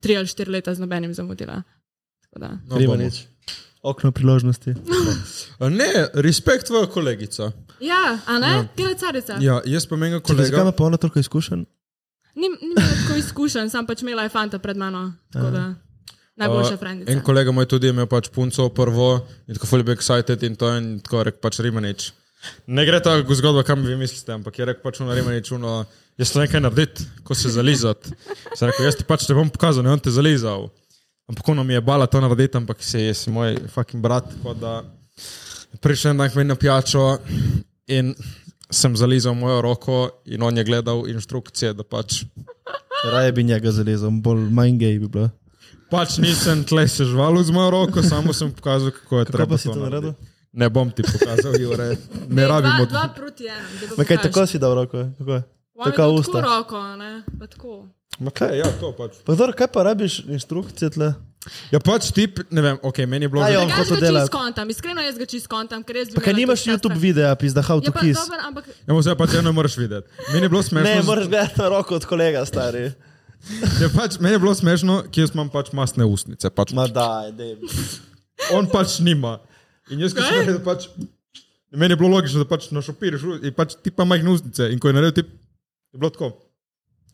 Speaker 1: tri ali štiri leta z nobenim zamutila. Tako da.
Speaker 2: No,
Speaker 4: Treba
Speaker 2: bomo.
Speaker 4: nič. Okno priložnosti.
Speaker 2: A Ne, respekt tvoja kolegica.
Speaker 1: Ja, a ne? Ja. Tela carica. Ja.
Speaker 2: Ja, jaz pa menega
Speaker 4: Čekaj, Zakaj ima
Speaker 2: kolega...
Speaker 4: pa ona toliko izkušenj?
Speaker 1: Nim, nim je tako izkušen, sam pač imela je fanta pred mano. Tako
Speaker 4: Ja.
Speaker 1: da. Najboljša
Speaker 2: Uh,
Speaker 1: frendica.
Speaker 2: en kolega moj tudi je imel pač punco prvo in tako fully bil excited in to in tako rekel pač Rimanič. Ne gre ta zgodba, kam vi mislite, ampak je rekel pač ono Rimanič, ono, jaz to nekaj narediti, ko se zalizati. Sem rekel, jaz ti pač ne bom pokazal, ne on te zalizal. Ampak ono mi je bala to narediti, ampak se je si moj fucking brat, tako da prišel enak meni na pijačo in sem zalizal mojo roko in on je gledal inštrukcije, da pač
Speaker 4: Raje bi njega zalezel, bolj manj gej bi bilo.
Speaker 2: Pač nisem tle se žvalil z mojo roko, samo sem pokazal, kako je treba.
Speaker 4: pa si to
Speaker 2: narediti.
Speaker 4: naredil?
Speaker 2: Ne bom ti pokazal, Jure. Ne
Speaker 1: Dej, dva,
Speaker 2: rabimo.
Speaker 1: dva proti enemu.
Speaker 4: Ma kaj tako si dal roko? Kako je? Tako
Speaker 1: Tako
Speaker 4: usta.
Speaker 1: roko, a ne? Pa tako.
Speaker 2: Ma kaj, ja, to pač.
Speaker 4: Pa dobro, kaj pa rabiš inštrukcije tle?
Speaker 2: Ja, pač tip, ne vem, ok, meni je bilo.
Speaker 4: Ajo.
Speaker 2: že-
Speaker 4: Kako
Speaker 1: Ja, Jaz
Speaker 4: to
Speaker 1: ga
Speaker 4: dela?
Speaker 1: čisto skontam, iskreno jaz ga čisto skontam, ker res bi
Speaker 4: Pa kaj
Speaker 1: imela
Speaker 4: nimaš
Speaker 1: toliko časa.
Speaker 4: YouTube videa, pizda, how
Speaker 1: Ja,
Speaker 4: to
Speaker 1: pa
Speaker 4: kiss?
Speaker 1: dober, ampak
Speaker 2: Ja, vse pač eno moraš videti. Meni je bilo smešno.
Speaker 4: Ne, moraš gledati na roko od kolega, stari.
Speaker 2: Ja, pač, meni je bilo smešno, ki jaz imam pač masne usnice. Pač.
Speaker 4: Ma daj, dej.
Speaker 2: On pač nima. In jaz, ki sem rekel, pač. Meni je bilo logično, da pač našopiriš u- in pač ti pa majhne usnice. In ko je naredil tip, je bilo tako.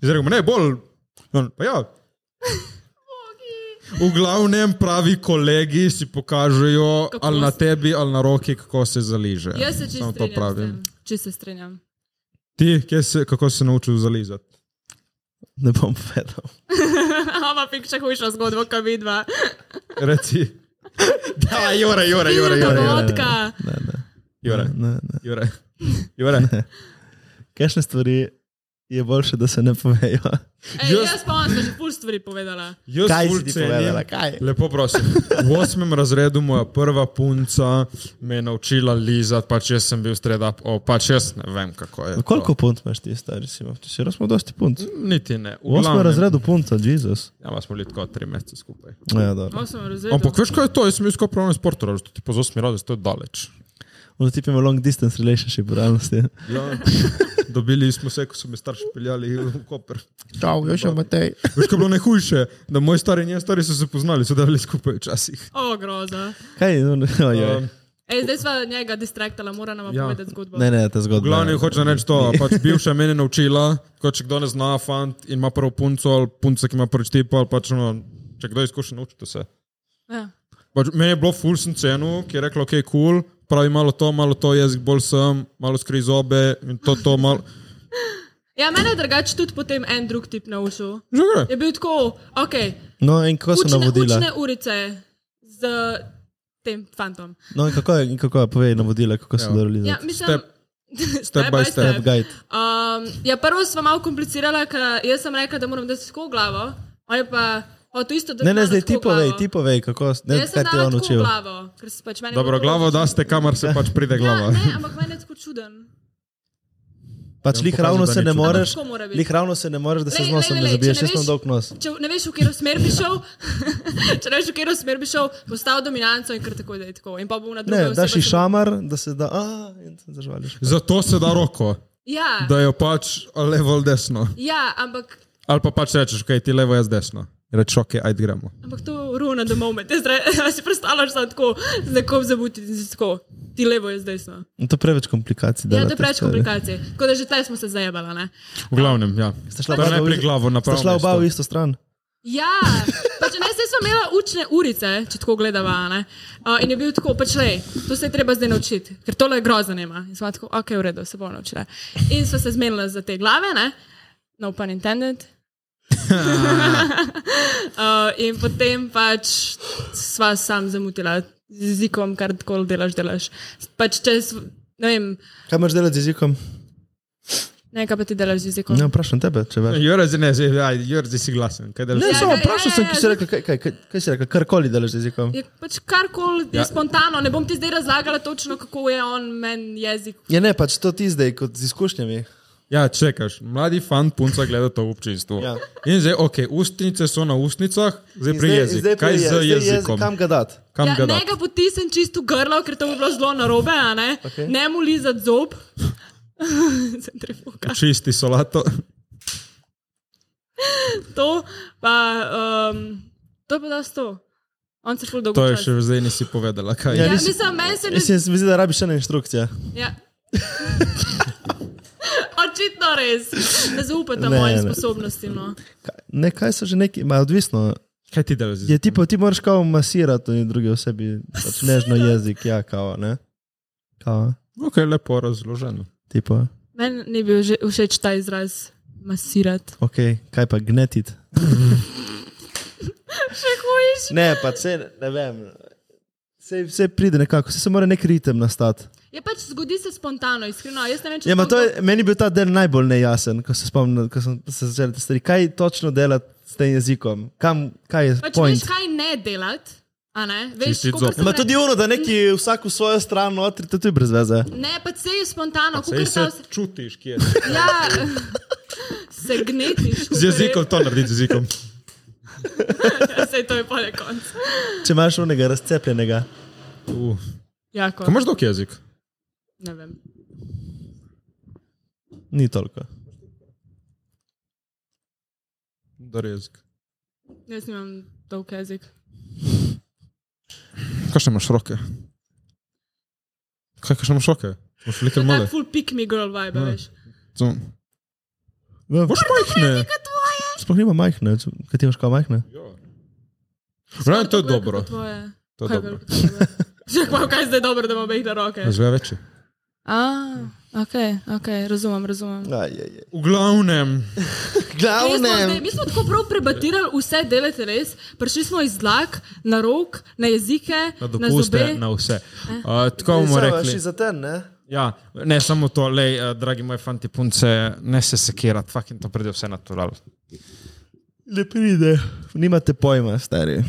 Speaker 2: Zdaj rekel, ne, bolj. No, pa ja, V glavnem pravi kolegi si pokažejo
Speaker 1: Kako
Speaker 2: ali na
Speaker 1: se-
Speaker 2: tebi ali na roki, kako se zaliže.
Speaker 4: Ja
Speaker 1: jaz se čisto
Speaker 2: Samo to
Speaker 1: strinjam.
Speaker 2: pravim.
Speaker 1: Če se strinjam.
Speaker 2: Ti, kje se, kako si se naučil zalizati?
Speaker 4: Ne bom povedal.
Speaker 1: Ama pik še hujša zgodba, kot vidva.
Speaker 2: Reci. Da, Jure, Jure, Jure, Jure. Jure.
Speaker 1: Dogodka.
Speaker 4: Ne, ne,
Speaker 2: Jure.
Speaker 4: ne, ne.
Speaker 2: Jure. Jure.
Speaker 4: Kajšne stvari je boljše, da se ne povejo.
Speaker 1: Ej,
Speaker 2: Jaz-
Speaker 1: jaz pa vam sem že pol stvari povedala.
Speaker 2: Jaz
Speaker 5: Kaj
Speaker 2: ful
Speaker 5: si ti
Speaker 2: cenim-
Speaker 5: povedala, kaj?
Speaker 2: Lepo prosim. V osmem razredu moja prva punca me je naučila lizati, pač jaz sem bil streda, pač jaz ne vem kako je. to.
Speaker 4: Koliko punt imaš ti, stari si? Ti si smo dosti punt.
Speaker 2: Niti ne.
Speaker 4: V osmem razredu punca, Jezus.
Speaker 2: Ja, pa smo bili tako tri mesece skupaj.
Speaker 4: Ja, dobro.
Speaker 1: Osem razredov.
Speaker 2: Ampak veš, kaj je to? Jaz sem bil skupaj pravno sportor, to ti po osmi razred, to je daleč.
Speaker 4: Ono tipimo long distance relationship v realnosti.
Speaker 2: Ja. Dobili smo se, ko so me starši peljali v Koper.
Speaker 5: Čau, jo še Matej.
Speaker 2: Veš, kaj je bilo najhujše, da moj stari in njen stari so se poznali, so delali skupaj včasih.
Speaker 1: O, groza.
Speaker 4: Kaj, no, no, ojoj.
Speaker 2: Um,
Speaker 1: Ej, zdaj sva njega distraktala, mora nam ja.
Speaker 2: Ja.
Speaker 1: povedati zgodbo.
Speaker 4: Ne, ne, ta
Speaker 2: V
Speaker 4: zgodba.
Speaker 2: glavnem hočem reči to, pač bivša meni naučila, ko če kdo ne zna, fant in ima prvo punco ali punca, ki ima prvič tipa, ali pač no, če kdo izkušen, naučite se.
Speaker 1: Ja.
Speaker 2: Pač, meni je bilo full sem cenu, ki je rekla, ok, kul, cool, pravi malo to, malo to, jaz bolj sem, malo skri zobe in to, to, malo.
Speaker 1: ja, mene je drugače tudi potem en drug tip naučil.
Speaker 2: Že gre.
Speaker 1: Je bil tako, ok,
Speaker 4: No, in kako so
Speaker 1: učne,
Speaker 4: navodila?
Speaker 1: učne urice z tem fantom.
Speaker 4: No, in kako je, in kako je povej navodila, kako so delali?
Speaker 1: Ja,
Speaker 4: Ja.
Speaker 1: mislim,
Speaker 2: Step-
Speaker 1: step by
Speaker 2: by
Speaker 1: step.
Speaker 2: step
Speaker 4: Guide.
Speaker 1: Um, ja, prvo sva malo komplicirala, ker jaz sem rekla, da moram dati tako v glavo, on je pa hotel isto, da
Speaker 4: Ne,
Speaker 1: bi
Speaker 4: ne,
Speaker 1: dala
Speaker 4: zdaj
Speaker 1: tako
Speaker 4: ti
Speaker 1: v
Speaker 4: povej,
Speaker 1: glavo.
Speaker 4: ti povej, kako
Speaker 1: Ja,
Speaker 4: ne,
Speaker 1: Jaz sem
Speaker 4: kaj ti je
Speaker 1: dala
Speaker 4: on
Speaker 1: tako v
Speaker 4: učil.
Speaker 1: glavo, ker se pač meni
Speaker 2: Dobro, glavo daste, kamor se pač pride
Speaker 1: Ja,
Speaker 2: glava.
Speaker 1: ne, ampak meni je tako čuden.
Speaker 4: Pač
Speaker 2: Ja,
Speaker 4: lih
Speaker 2: pokazal,
Speaker 4: ravno
Speaker 2: da
Speaker 4: se
Speaker 2: ni
Speaker 4: ne
Speaker 2: čuden.
Speaker 4: moreš,
Speaker 1: Tako mora biti.
Speaker 4: lih ravno se ne moreš, da se
Speaker 1: Lej,
Speaker 4: z
Speaker 1: lej,
Speaker 4: nosom ne
Speaker 1: lej, če
Speaker 4: zabiješ,
Speaker 1: ne
Speaker 4: jaz sem
Speaker 1: veš-
Speaker 4: dolg nos.
Speaker 1: Če ne veš, v katero smer bi šel, če ne veš, v katero smer bi šel, postavi dominanco in kar tako da je tako. In pa bo na drugo.
Speaker 4: Ne,
Speaker 1: osebo
Speaker 4: daš ji
Speaker 1: samo-
Speaker 4: šamar, da se da, a, in se zažvališ.
Speaker 2: Zato se da roko,
Speaker 1: Ja,
Speaker 2: da jo pač levo ali desno.
Speaker 1: ja, ampak,
Speaker 2: Ali pa pač rečeš, kaj ti levo, jaz desno. Reče, ok, ajde gremo.
Speaker 1: ampak to ruina the moment. Jaz re- a si predstavljaš, da tako z nekom zabuti in si tako. Ti levo je zdaj.
Speaker 4: In to je preveč komplikacij.
Speaker 1: Ja,
Speaker 4: dela
Speaker 1: to je
Speaker 4: te
Speaker 1: preveč
Speaker 4: stvari.
Speaker 1: komplikacij. Tako da že tle smo se zajebali, ne?
Speaker 2: V glavnem, ja.
Speaker 4: Ste šla
Speaker 2: To je
Speaker 4: oba v
Speaker 2: najprej
Speaker 4: isto-
Speaker 2: glavo na
Speaker 4: Sta
Speaker 2: pravo
Speaker 4: šla oba
Speaker 2: mesto.
Speaker 4: v isto stran.
Speaker 1: Ja, pač ne, zdaj smo imeli učne urice, če tako gledava. ne. Uh, in je bil tako, pač le, to se je treba zdaj naučiti, ker tole grozno nema. In smo tako, ok, v redu, se bo naučila. In smo se zmenili za te glave, ne, no pun intended. uh, in potem pač sva sam zamutila z jezikom, kar tako delaš, delaš. Pač če, sv- ne vem,
Speaker 4: Kaj imaš delati z jezikom?
Speaker 1: Mhm. ne, kaj pa ti delaš z jezikom.
Speaker 4: Ne, vprašam tebe, če veš.
Speaker 2: Jurek, ne, zdaj, ajde, Jurek, zdaj si glasen. Kaj delaš?
Speaker 4: Ne,
Speaker 1: Ja,
Speaker 4: samo
Speaker 1: ja,
Speaker 4: vprašal
Speaker 1: ja,
Speaker 4: sem,
Speaker 1: ja,
Speaker 4: ki
Speaker 1: ja.
Speaker 4: si rekel, kaj, kaj, kaj, kaj si rekel, karkoli delaš z jezikom.
Speaker 1: Je pač karkoli ja.
Speaker 2: Ja.
Speaker 1: spontano, ne bom ti zdaj razlagala točno, kako je on meni jezik
Speaker 4: Ja, ne, pač to ti zdaj, kot z izkušnjami.
Speaker 2: Ja, čekaš. Mladi fant, punca gleda to v občinstvu.
Speaker 4: Ja.
Speaker 2: Ja. In zdaj, ok, ustnice so na ustnicah, zdaj
Speaker 4: In
Speaker 2: pri
Speaker 4: zdaj-
Speaker 2: jeziku.
Speaker 4: zdaj
Speaker 2: Kaj
Speaker 4: pri
Speaker 2: z
Speaker 4: je- zdaj jezik,
Speaker 2: jezikom?
Speaker 4: Kam ga dati?
Speaker 2: Kam
Speaker 1: Ja,
Speaker 2: ga
Speaker 1: ne
Speaker 2: da?
Speaker 1: ga potisnem čisto v grlo, ker to bi bilo zelo narobe, a ne? Okay.
Speaker 4: Okej.
Speaker 1: ne mu lizati zob. Sem trefuka.
Speaker 2: Čisti solato.
Speaker 1: To pa, um, to pa da sto. On se ful dolgo.
Speaker 2: To je
Speaker 1: časa-
Speaker 2: še zdaj nisi povedala. Kaj je?
Speaker 4: Ja,
Speaker 1: Ja,
Speaker 4: nisi-
Speaker 1: mislim, meni se ne
Speaker 4: Jaz
Speaker 1: zdi.
Speaker 4: se mi zdi, da rabiš še ena inštrukcija.
Speaker 1: Ja. Očitno res. Ne zaupate
Speaker 4: Ne,
Speaker 1: mojim
Speaker 4: ne.
Speaker 1: sposobnostim. No.
Speaker 4: Kaj- Ne, kaj so že neki, ma, odvisno.
Speaker 2: Kaj ti delaš? z
Speaker 4: Je ti, ti moraš kao masirati in druge osebi, pač nežno jezik, ja, kao, ne? Kao,
Speaker 2: Ok, lepo razloženo.
Speaker 4: tipo,
Speaker 1: Meni ni bil že, všeč ta izraz masirati.
Speaker 4: ok, kaj pa gnetit?
Speaker 1: Še hujš.
Speaker 4: Ne, pa se ne vem. Vse, vse pride nekako, vse se mora nek ritem nastati.
Speaker 1: Je pač zgodi se spontano, iskreno. Jaz ne vem, če
Speaker 4: Ja, ma
Speaker 1: sploh
Speaker 4: to
Speaker 1: kdo-
Speaker 4: je, meni je bil ta del najbolj nejasen, ko se spomnim, ko sem se začel te stvari. Kaj točno delati s tem jezikom? Kam, kaj je
Speaker 1: Pač
Speaker 4: point?
Speaker 1: veš, kaj ne delati, a ne? Veš,
Speaker 2: Čistiti
Speaker 1: kakor
Speaker 2: zob.
Speaker 1: sem
Speaker 4: Ma
Speaker 1: re-
Speaker 4: tudi ono, da neki vsak v svojo stran notri, to je tudi brez veze.
Speaker 1: Ne, pa se je spontano, kako
Speaker 2: Sej
Speaker 1: je
Speaker 2: se
Speaker 1: to.
Speaker 2: čutiš, kje je.
Speaker 1: Ja, se gnetiš.
Speaker 2: Z jezikom to narediš, z jezikom.
Speaker 1: Se to je pole konc.
Speaker 4: Če imaš onega razcepljenega.
Speaker 2: Uh.
Speaker 1: Ja, kot.
Speaker 2: Kaj imaš dok jezik?
Speaker 1: Ne vem.
Speaker 4: Ni toliko.
Speaker 2: Dar jezik.
Speaker 1: Jaz nimam dolg jezik.
Speaker 2: Kakšne imaš roke? Kaj, kakšne imaš roke? Imaš
Speaker 1: To
Speaker 2: velike
Speaker 1: je
Speaker 2: male.
Speaker 1: tak full pick me girl vibe,
Speaker 2: Ja.
Speaker 1: veš.
Speaker 2: Zun. Boš majhne.
Speaker 4: Sploh nima majhne, če- kaj ti imaš kao majhne?
Speaker 2: Vrame, to
Speaker 1: Tako je
Speaker 2: je dobro.
Speaker 1: kot tvoje.
Speaker 2: To je
Speaker 1: Kaj je
Speaker 2: dobro.
Speaker 1: veliko tvoje? Že kva, kaj je zdaj dobro, da imam mehne roke.
Speaker 2: Zve večje.
Speaker 1: A, ok, ok, razumem, razumem.
Speaker 4: Aj, aj, aj.
Speaker 2: V glavnem.
Speaker 1: Ej, jaz smo
Speaker 4: Glavne.
Speaker 1: zdaj- Mi smo tako prav prebatirali vse dele teles, prišli smo iz dlak, na rok, na jezike, na
Speaker 2: Na
Speaker 1: zobe.
Speaker 2: dopuste, na vse. Uh, tako bomo rekli.
Speaker 4: za ten, ne?
Speaker 2: Ja, ne eh, samo to, lej, uh, dragi moji fanti punce, ne se sekirati, fucking to pride vse natural.
Speaker 4: Ne pride. Nimate pojma, stari.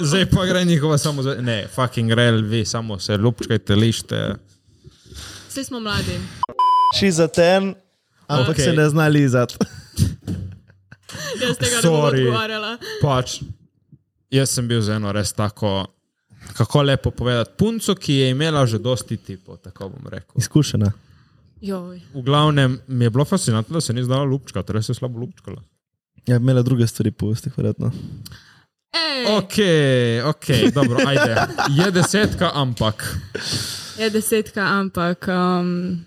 Speaker 2: Zdaj pa gre njihova samo za. Ne, fucking grel, vi samo se lupčkajte, lište.
Speaker 1: Vsi smo mladi.
Speaker 4: Ši za ten, ampak
Speaker 2: Okej.
Speaker 4: okay. se ne zna lizati.
Speaker 1: Jaz tega ne bom
Speaker 2: Sorry.
Speaker 1: odgovarjala.
Speaker 2: Pač, jaz sem bil z eno res tako, kako lepo povedati, punco, ki je imela že dosti tipov, tako bom rekel.
Speaker 4: Izkušena.
Speaker 1: Joj.
Speaker 2: V glavnem, mi je bilo fascinantno, da se ni znala lupčkati, res je slabo lupčkala.
Speaker 4: Ja, imela druge stvari po ustih, verjetno.
Speaker 1: Ej,
Speaker 2: Ok, ok, dobro, ajde. Je desetka, ampak.
Speaker 1: Je desetka, ampak um,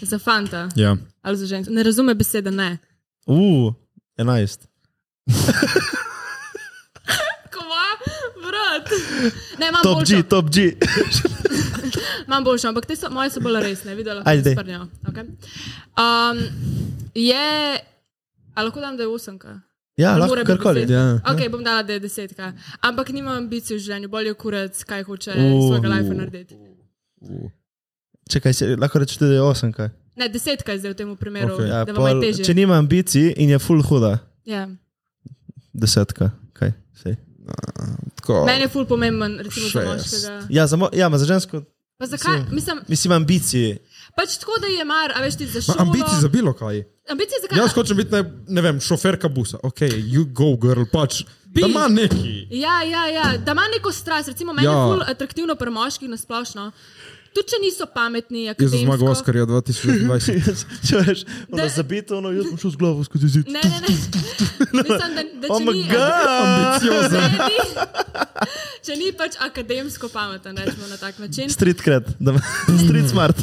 Speaker 1: za fanta
Speaker 2: Ja.
Speaker 1: ali za žensko. Ne razume besede ne.
Speaker 4: Uf, enajst.
Speaker 1: Kva, vrat. Ne, imam
Speaker 4: Top
Speaker 1: boljšo,
Speaker 4: G, top G.
Speaker 1: imam boljšo, ampak te so, moje so bolj resne, videla sem
Speaker 4: Ajde, daj.
Speaker 1: sprnjo. Okay. Um, je, ali lahko dam, da je osemka?
Speaker 4: Ja,
Speaker 1: Ali
Speaker 4: lahko
Speaker 1: mora biti
Speaker 4: karkoli.
Speaker 1: deset?
Speaker 4: Ja.
Speaker 1: Ok, bom dala, da je desetka. Ampak nimam ambicij v življenju, bolje kurec, kaj hoče
Speaker 4: Uh.
Speaker 1: uh, svojega life narediti.
Speaker 4: Čakaj, se, lahko rečete, da je osem kaj.
Speaker 1: Ne, desetka je zdaj v tem primeru,
Speaker 2: Okej.
Speaker 1: okay.
Speaker 4: Ja,
Speaker 1: da vam je
Speaker 4: pol,
Speaker 1: težje.
Speaker 4: če nima ambicij in je full huda,
Speaker 1: Ja.
Speaker 4: desetka. Kaj, sej.
Speaker 2: Tako.
Speaker 1: Meni je ful pomemben, recimo, za
Speaker 2: Šest.
Speaker 1: moškega.
Speaker 4: ja, za, mo, ja, ma za žensko,
Speaker 1: Pa zakaj? Mislim,
Speaker 4: mislim, ambicije.
Speaker 1: Pač tako, da je mar, a veš ti za šolo.
Speaker 2: Ambicije za bilo kaj.
Speaker 1: Ambicije za kaj?
Speaker 4: Ja,
Speaker 2: Jaz hočem biti, ne, ne vem, šoferka busa. Ok, you go, girl, pač. Da ima neki.
Speaker 1: Ja, ja, ja, da ima neko strast. Recimo, meni ja.
Speaker 2: Ja.
Speaker 1: je ful atraktivno pri moških nasplošno. Tudi če niso pametni,
Speaker 2: Jaz sem zmagal
Speaker 1: akademsko.
Speaker 2: Oskarja 2020.
Speaker 4: Če veš,
Speaker 1: Da-
Speaker 4: ono zabito, ono, jaz sem šel z glavo skozi zid.
Speaker 1: Ne, ne, ne. Mislim, da, da
Speaker 4: Oh
Speaker 1: če
Speaker 4: my
Speaker 1: ni...
Speaker 4: god!
Speaker 1: Ne, ni- Če ni pač akademsko pameten, rečemo na tak način.
Speaker 4: Street cred, da ima- street smart,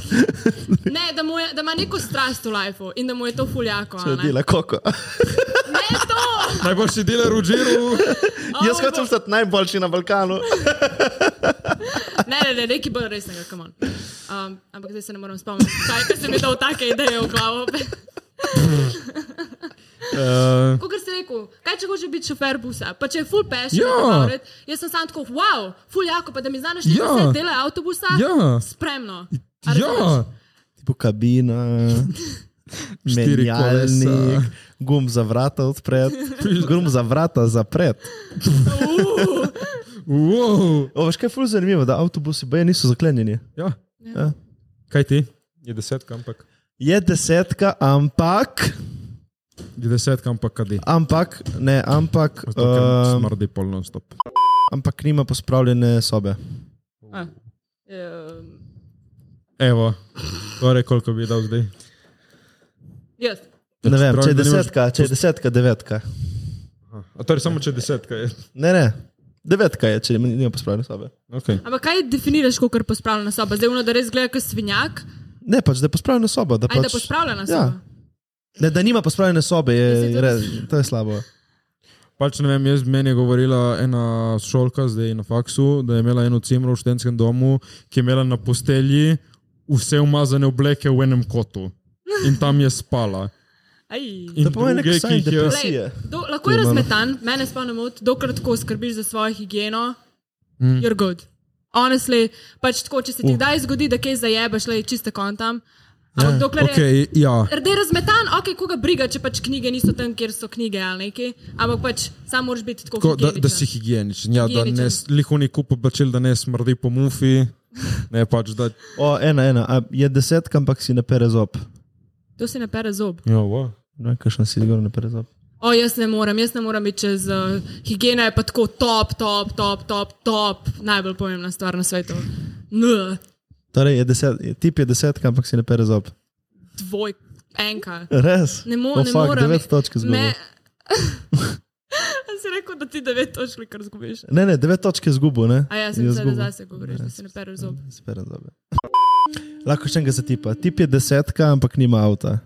Speaker 1: Ne, da, mu je, da ima neko strast v lifeu in da mu je to fuljako.
Speaker 4: če dela koko.
Speaker 1: Ne, to!
Speaker 2: Najboljši deler v Džiru.
Speaker 4: Jaz hočem stati najboljši na Balkanu.
Speaker 1: Ne, ne, ne, neki bolj resnega, kam on. Um, ampak zdaj se ne moram spomniti, kaj ker sem videl take ideje v glavo.
Speaker 2: Uh,
Speaker 1: Kot si rekel, kaj če hočeš biti šofer busa, pa če je full passion,
Speaker 2: Ja.
Speaker 1: ja. jaz sem sam tako, wow, full jako, pa da mi znaš, da
Speaker 2: Ja.
Speaker 1: ja. se dela avtobusa,
Speaker 2: Ja.
Speaker 1: spremno. A razumeš?
Speaker 2: ja,
Speaker 4: Tipo kabina,
Speaker 2: Štiri
Speaker 4: menjalnik,
Speaker 2: kolesa.
Speaker 4: gum za vrata odpret, gum za vrata zapret.
Speaker 2: wow.
Speaker 4: O, veš kaj je ful zanimivo, da avtobusi baje niso zaklenjeni.
Speaker 2: ja.
Speaker 4: Ja.
Speaker 2: Kaj ti? Je desetka, ampak.
Speaker 4: Je desetka, ampak,
Speaker 2: Je desetka, ampak kadi.
Speaker 4: ampak, ne, ampak,
Speaker 2: Zato, ker
Speaker 4: um,
Speaker 2: smrdi polno stop.
Speaker 4: ampak nima pospravljene sobe.
Speaker 1: A, ehm,
Speaker 2: Evo, torej koliko bi dal zdaj?
Speaker 1: Jaz.
Speaker 4: Ne vem, če je
Speaker 2: Pravi, da nimaš
Speaker 4: desetka, če je desetka, devetka.
Speaker 2: A torej samo če desetka je.
Speaker 4: Ne, ne, devetka je, če nima pospravljene sobe.
Speaker 2: Okay.
Speaker 1: Ampak kaj definiraš, kot kar pospravljena soba? Zdaj uno, da res gleda kot svinjak,
Speaker 4: Ne, pač da je pospravljena soba. Da,
Speaker 1: ali pač,
Speaker 4: pač,
Speaker 1: da pospravljena
Speaker 4: ja.
Speaker 1: soba?
Speaker 4: Ne, da nima pospravljene sobe,
Speaker 1: Mislim,
Speaker 4: je,
Speaker 1: da-
Speaker 4: re, to je slabo.
Speaker 2: Pač ne vem, jaz meni je govorila ena šolka, zdaj na faksu, da je imela eno cimro v študentskem domu, ki je imela na postelji vse umazane obleke v enem kotu. In tam je spala.
Speaker 1: Aj.
Speaker 2: In
Speaker 4: To pomeni nek
Speaker 2: druge, ki
Speaker 4: sign
Speaker 2: jih Ja, je- Ja,
Speaker 1: Glej,
Speaker 4: depresije. Sije.
Speaker 1: do, lahko je razmetan, mene spomnim, dokler tako skrbiš za svojo higieno, mm. you're good. Honestly, pač tako, če se
Speaker 2: Uh.
Speaker 1: ti kdaj zgodi, da kaj zajebeš, le čiste kontam. Ampak yeah. dokler okay. je.
Speaker 2: Okay, ja.
Speaker 1: Rde razmetan, ok, koga briga, če pač knjige niso tam, kjer so knjige ali neki, ampak pač sam moraš biti tako
Speaker 2: Ko,
Speaker 1: kot
Speaker 2: da, da si higieničen, ja, da ne
Speaker 1: Higieničen.
Speaker 2: lihuni kupa bačil, da ne smrdi po mufi. Ne, pač, da,
Speaker 4: O, ena, ena, a, je desetka, ampak si ne pere zob.
Speaker 1: To si ne pere zob.
Speaker 2: jo, wow.
Speaker 4: Ne, kakšen si zgor ne pere zob.
Speaker 1: O, jaz ne morem, jaz ne morem iti čez uh, higieno, je pa tako top, top, top, top, top, najbolj pomembna stvar na svetu. N,
Speaker 4: Torej, je deset, je- tip je desetka, ampak si ne pere zob.
Speaker 1: dvoj, enka.
Speaker 4: Res?
Speaker 1: Ne, mo
Speaker 4: O,
Speaker 1: ne
Speaker 4: fuck,
Speaker 1: morem.
Speaker 4: Devet točk izgubil.
Speaker 1: Jaz si rekel, da ti devet točk kar zgubiš.
Speaker 4: Ne, ne, devet točk je izgubil, ne?
Speaker 1: A ja, sem
Speaker 4: Je
Speaker 1: mislil, da
Speaker 4: izgubil.
Speaker 1: zase govoriš, da se ne pereš zob.
Speaker 4: Si pere zob. Lahko še enega zatipa. Tip je desetka, ampak nima avta.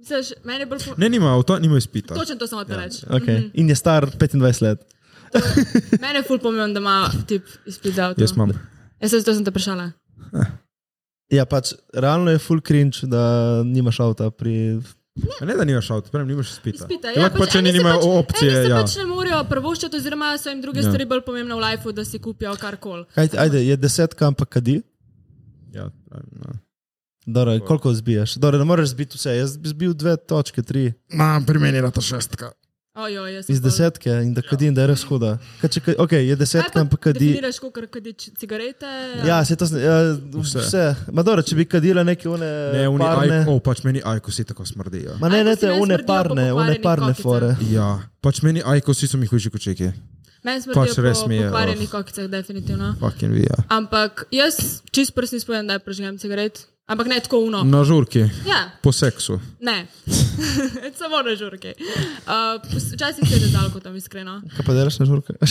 Speaker 1: Misliš, meni je bolj fo...
Speaker 2: ne, nima avto, nima izpita.
Speaker 1: Točno to sem hotel
Speaker 2: Ja,
Speaker 1: reči.
Speaker 4: Okay. In je star 25 let.
Speaker 1: Mene je ful pomemben, da ima tip izpit za avto.
Speaker 2: ja. Jaz imam.
Speaker 1: Jaz sem to sem te vprašala.
Speaker 4: Ja, pač realno je full cringe, da nimaš avta pri
Speaker 2: A Ne, da nimaš avto, pravim, nimaš izpita.
Speaker 1: Izpita,
Speaker 2: Ja, lahko pač eni
Speaker 1: eni se
Speaker 2: nimajo
Speaker 1: pač-
Speaker 2: opcije.
Speaker 1: Eni se
Speaker 2: Ja.
Speaker 1: pač ne morejo prvoščiti, oziroma so jim druge
Speaker 2: Ja.
Speaker 1: stvari bolj pomembne v lifeu, da si kupijo karkoli.
Speaker 4: Kaj, ajde, je desetka, ampak kadi.
Speaker 2: Ja, pravim, ja.
Speaker 4: Dobro, koliko zbiješ? Dobro, ne moreš zbiti vse. Jaz bi zbil dve točke, tri
Speaker 5: Ma, pri meni je bila ta šestka.
Speaker 1: Ojo, jaz sem
Speaker 4: iz
Speaker 1: pol-
Speaker 4: desetke in da kadim, da je res huda. Kaj če, ka- ok, je
Speaker 1: Kaj
Speaker 4: desetka,
Speaker 1: pa
Speaker 4: ampak kadi.
Speaker 1: Definiraš, koliko kadi č- cigarete.
Speaker 4: Ja, se to zna, ja, vse.
Speaker 2: Vse.
Speaker 4: vse. Ma dobro, če bi kadila neke one
Speaker 2: Ne, oni
Speaker 4: parne.
Speaker 2: ajko, pač meni ajkosi tako smrdijo.
Speaker 4: Ma ne, ne
Speaker 1: Ajkosi
Speaker 4: te
Speaker 1: meni
Speaker 4: one
Speaker 1: smrdijo po
Speaker 4: parne, one
Speaker 1: pokvarjenih
Speaker 4: parne
Speaker 1: kokicah.
Speaker 4: fore.
Speaker 2: Ja, pač meni ajkosi so mi hujši kot čeki.
Speaker 1: Meni smrdijo
Speaker 2: Pač res
Speaker 1: po
Speaker 2: mi je, oh.
Speaker 1: pokvarjenih kokicah, definitivno.
Speaker 2: Fucking vi, ja.
Speaker 1: Ampak jaz čist prst nisem povedal, da je prežgem cigaret. Ampak ne tako uno.
Speaker 2: Na žurki,
Speaker 1: Ja,
Speaker 2: po seksu.
Speaker 1: ne. Samo na žurke. Uh, pos- Včasih se je z alkoholom, iskreno.
Speaker 4: Kaj pa delaš na žurke?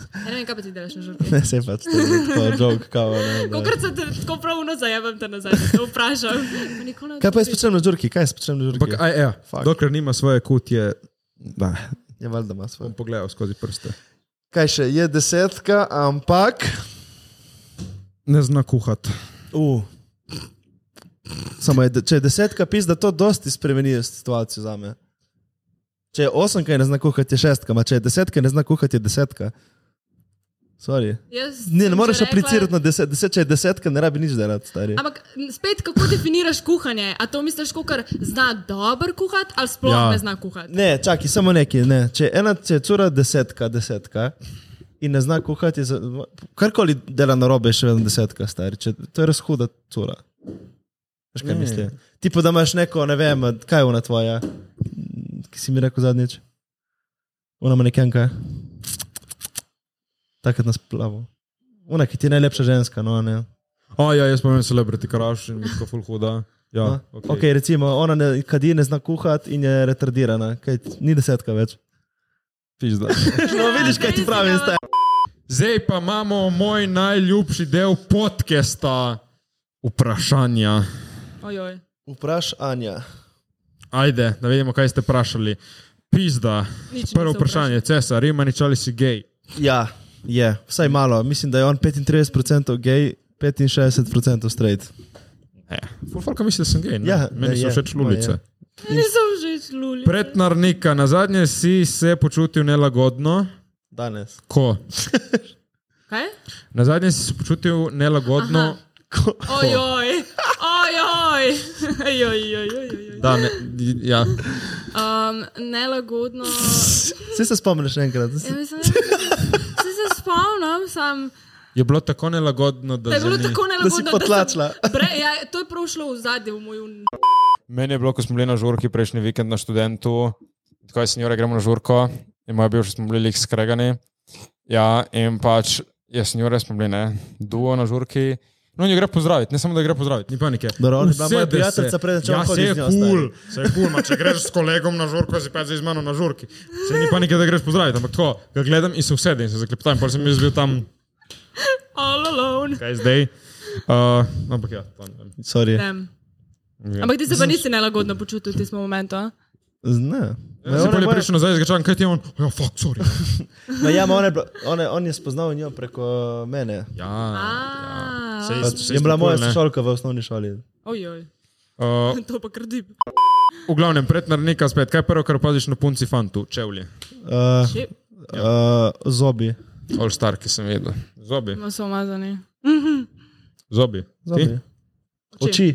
Speaker 1: Ja, ne vem, kaj pa ti delaš na žurke.
Speaker 4: ne, se pač, to je tako žog, kao. Ne, da-
Speaker 1: Kolikrat se te tako pravno zajemem, te nazaj, da te vprašam. Pa nikoli ne
Speaker 4: Kaj pa jaz
Speaker 1: odgovorim.
Speaker 4: počnem na žurki? Kaj jaz počnem na žurki?
Speaker 2: Ampak, aj, ja,
Speaker 4: Fuck.
Speaker 2: dokler nima svoje kutje, da,
Speaker 4: Je valjda ima
Speaker 2: bom
Speaker 4: svoje.
Speaker 2: pogledal skozi prste.
Speaker 4: Kaj še, je desetka, ampak.
Speaker 2: Ne zna kuhati.
Speaker 4: Uh. Samo je, de- če je desetka pis, da to dosti spremeni situacijo za me. Če je osemka, je ne zna kuhati, je šestka, ma če je desetka, je ne zna kuhati, je desetka. Sorry.
Speaker 1: Jaz
Speaker 4: Ne,
Speaker 1: sem
Speaker 4: ne
Speaker 1: že
Speaker 4: moreš
Speaker 1: rekla-
Speaker 4: aplicirati na deset, deset, če je desetka, ne rabi nič delati, stari.
Speaker 1: Ampak m, spet, kako definiraš kuhanje? A to misliš, kot kar zna dobro kuhati, ali sploh ja.
Speaker 2: Ja.
Speaker 1: ne zna kuhati?
Speaker 4: Ne, čakaj, samo nekaj. Ne. Če je ena če je cura desetka, desetka in ne zna kuhati, je za, karkoli dela na robe, je še vedno desetka, stari. Če, to je res huda cura. Veš kaj
Speaker 2: Ne.
Speaker 4: mislim? Ti pa da imaš neko, ne vem, kaj je ona tvoja, ki si mi rekel zadnjič. Ona ima nekenka. Takrat nas plavo. Ona, ki ti je najlepša ženska, no a ne.
Speaker 2: A ja, jaz pa vem celebrity crush in mi je tako ful huda.
Speaker 4: No.
Speaker 2: Ja,
Speaker 4: Okay. Okay, recimo, ona ne, kadi ne zna kuhati in je retardirana, kaj, ni desetka več.
Speaker 2: pizda.
Speaker 4: No, vidiš, kaj ti
Speaker 1: ja.
Speaker 4: pravim, stari.
Speaker 2: Zdaj pa imamo moj najljubši del podcasta. Vprašanja.
Speaker 1: ja. Ojoj.
Speaker 4: Vpraš Anja.
Speaker 2: Ajde, da vidimo, kaj ste vprašali. Pizda.
Speaker 1: Nič
Speaker 2: Prvo
Speaker 1: nisem
Speaker 2: vprašanje, Cesar, Rimanič ali si gej?
Speaker 4: Ja, je, vsaj malo. Mislim, da je on 35% gej, 65% straight.
Speaker 2: Fulfalka misli, da sem gej. ne?
Speaker 4: Ja,
Speaker 2: Meni
Speaker 4: ja,
Speaker 2: so všeč lulice.
Speaker 4: ja.
Speaker 1: Nisem že luli.
Speaker 2: Pretnarnika, na zadnje si se počutil nelagodno.
Speaker 4: Danes.
Speaker 2: Ko?
Speaker 1: Kaj?
Speaker 2: Na zadnje si se počutil nelagodno. Aha.
Speaker 1: Ojoj. Ojoj. Ojoj. Ojoj. Ojoj.
Speaker 2: Da, ne, ja.
Speaker 1: Um, nelagodno.
Speaker 4: Vse se spomniš še enkrat.
Speaker 1: Ja, mislim, da- Se se spomnim, sam,
Speaker 2: Je bilo tako nelagodno, da,
Speaker 1: da je bilo
Speaker 2: zdaj ni-
Speaker 1: tako nelagodno. sem-
Speaker 4: potlačila.
Speaker 1: Bre, ja, to je prošlo v zadnjem, v mojem.
Speaker 2: Meni je bilo, ko smo bili na žurki prejšnji vikend na študentu, tako je senjora, gremo na žurko in moj bivši smo bili lih skregani. Ja, in pač je senjora, smo bili ne, duo na žurki. No, in jo gre pozdraviti, ne samo da jo gre pozdraviti, ni panike.
Speaker 4: Dobro, ona je bila
Speaker 2: Usede
Speaker 4: moja prijateljica,
Speaker 2: se.
Speaker 4: preden sem
Speaker 2: ja,
Speaker 4: hodil
Speaker 2: se je
Speaker 4: z njo,
Speaker 2: kul, se je kul, ma če greš s kolegom na žurko, si pa zdaj z mano na žurki. Se ni panike, da greš pozdraviti, ampak tako, ga gledam in se usedem in se zaklepetam, pa sem jaz bil tam,
Speaker 1: All alone.
Speaker 2: kaj zdaj. Uh, ampak ja, tam. tam.
Speaker 4: Sorry. Ne.
Speaker 1: Vem. Ampak ti se pa nisi nelagodno počutil v tistem momentu. a?
Speaker 4: ne. Ma
Speaker 2: Zdaj pa
Speaker 4: ona Ja, je
Speaker 2: Ja, je
Speaker 4: moja-
Speaker 2: prišel nazaj, zgačan, kaj ti je on? Ja, fuck, sorry.
Speaker 4: Ma ja, ma ona je bila- ona je- On je spoznal njo preko eh, mene.
Speaker 2: Ja.
Speaker 1: Ah. A,
Speaker 2: Saj-
Speaker 4: Pač
Speaker 2: saj
Speaker 4: Je
Speaker 2: smo
Speaker 4: bila moja
Speaker 2: kul, ne.
Speaker 4: sošolka v osnovni šoli.
Speaker 1: Ojoj.
Speaker 2: Uh,
Speaker 1: To pa krdi.
Speaker 2: v glavnem, prednarnika spet, kaj je prvo, kar opaziš na punci fantu, čevlje.
Speaker 4: Uh,
Speaker 1: Če
Speaker 4: uh, zobi.
Speaker 2: All star, ki sem videl. Zobi,
Speaker 1: smo se umazani.
Speaker 2: zobi.
Speaker 4: zobi.
Speaker 2: Ti?
Speaker 4: Oči.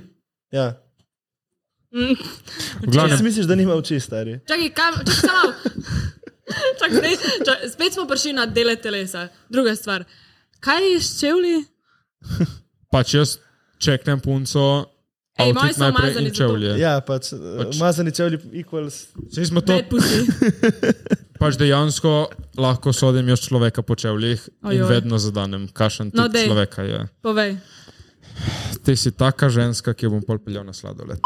Speaker 4: Ja.
Speaker 2: V
Speaker 4: Jaz
Speaker 2: glavnem,
Speaker 4: misliš, da nima oči, stari.
Speaker 1: Čakaj, kam, čakaj, samo. malo. čakaj, ne, čakaj, spet smo prišli na dele telesa. Druga stvar. Kaj je ščevli?
Speaker 2: pač jaz čeknem punco.
Speaker 1: Ej, moji
Speaker 2: outfit
Speaker 1: so
Speaker 2: najprej
Speaker 1: umazani
Speaker 2: in
Speaker 1: za to.
Speaker 2: čevlje.
Speaker 4: Ja, pač, pač. mazani čevlji equals.
Speaker 2: Saj smo to,
Speaker 1: Bed pusi.
Speaker 2: pač dejansko lahko sodim jaz človeka po čevljih in
Speaker 1: Ojoj.
Speaker 2: vedno zadanem, kašen tip
Speaker 1: No,
Speaker 2: no,
Speaker 1: dej.
Speaker 2: človeka je.
Speaker 1: Povej.
Speaker 2: Ti si taka ženska, ki jo bom pol peljal na sladoled.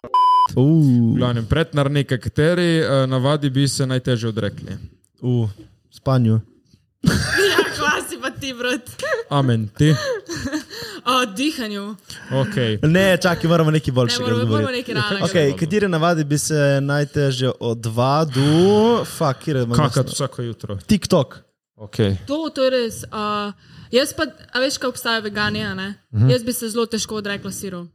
Speaker 4: Uh.
Speaker 2: V glavnem, prednarnika, kateri eh, navadi bi se najtežje odrekli.
Speaker 4: Uh, spanju.
Speaker 1: Ja, klasi pa ti, brat.
Speaker 2: Amen, ti.
Speaker 1: O dihanju.
Speaker 2: Okay.
Speaker 4: Ne, čakaj, moramo nekaj
Speaker 1: Ne
Speaker 4: boljšega
Speaker 1: moramo, moramo
Speaker 4: govoriti.
Speaker 1: nekaj ranega.
Speaker 4: Okay, katere navade bi se najtežje odvadil? Fak, kjer imam
Speaker 2: Kakat
Speaker 4: jasno?
Speaker 2: vsako jutro.
Speaker 4: TikTok.
Speaker 2: Okay.
Speaker 1: To, to je res. Uh, jaz pa, a veš, kaj obstaja vegani, a ne? Uh
Speaker 2: Mhm.
Speaker 1: -huh. Jaz bi se zelo težko odrekla siru.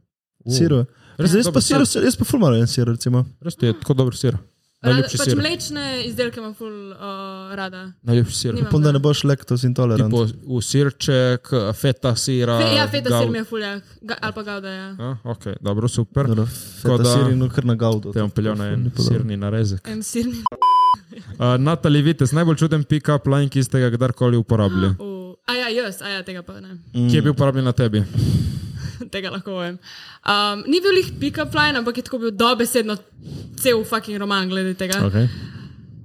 Speaker 4: Siro.
Speaker 2: Res
Speaker 4: Jaz,
Speaker 2: je
Speaker 4: jaz pa
Speaker 2: dober
Speaker 4: siro, jaz pa fulmalo en siro, recimo.
Speaker 2: Res ti je tako dober sir. Najlepši
Speaker 1: pač
Speaker 2: sir.
Speaker 1: mlečne izdelke imam ful uh, rada.
Speaker 2: Najlepši sir.
Speaker 1: Nimam.
Speaker 4: Upam, da ne boš lektos intolerant.
Speaker 2: Tipo v sirček, feta sira.
Speaker 1: Fe, ja, feta
Speaker 2: gav-
Speaker 1: sir mi je fuljak, ga, ali pa gavda, ja.
Speaker 2: A, ok, dobro, super.
Speaker 4: Dobro,
Speaker 2: Tako da-
Speaker 4: Feta sirino kar na gaudo.
Speaker 2: Te bom peljal na en
Speaker 4: Lepo dobro.
Speaker 2: sirni narezek.
Speaker 1: En sirni.
Speaker 2: Uh, Natali Vites, najbolj čuden pick-up line, ki ste ga kdarkoli uporabljali.
Speaker 1: Uh, a ja, jaz, a ja, tega pa ne.
Speaker 4: Mm.
Speaker 2: Kje je bil uporabljen na tebi?
Speaker 1: tega lahko povem. Um, ni bil jih pick-up line, ampak je tako bil dobesedno cel fucking roman glede tega. Okay.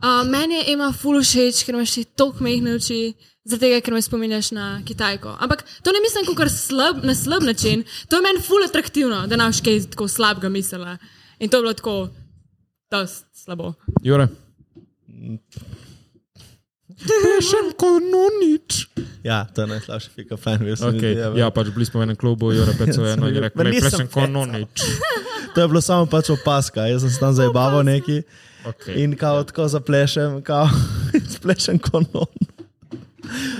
Speaker 1: Uh, meni je ima ful všeč, ker imaš ti toliko mehne oči, zaradi tega, ker me spominjaš na Kitajko. Ampak to ne mislim kot slab, na slab način, to je meni ful atraktivno, da nam še kaj tako slabega mislila. In to je bilo tako, to slabo.
Speaker 2: Jure. Pešem kononič.
Speaker 4: Ja, to je najslabši pika fajn, veš.
Speaker 2: Okay, ja, pač bili smo v enem klubu, Jure Peco je eno in rekel,
Speaker 4: Ma
Speaker 2: ne,
Speaker 4: nisem
Speaker 2: pešem
Speaker 4: Peco.
Speaker 2: kononič.
Speaker 4: To je bilo samo pač opaska, jaz sem se tam zabaval neki
Speaker 2: Okay.
Speaker 4: in kao tako zaplešem, kao splešem konon.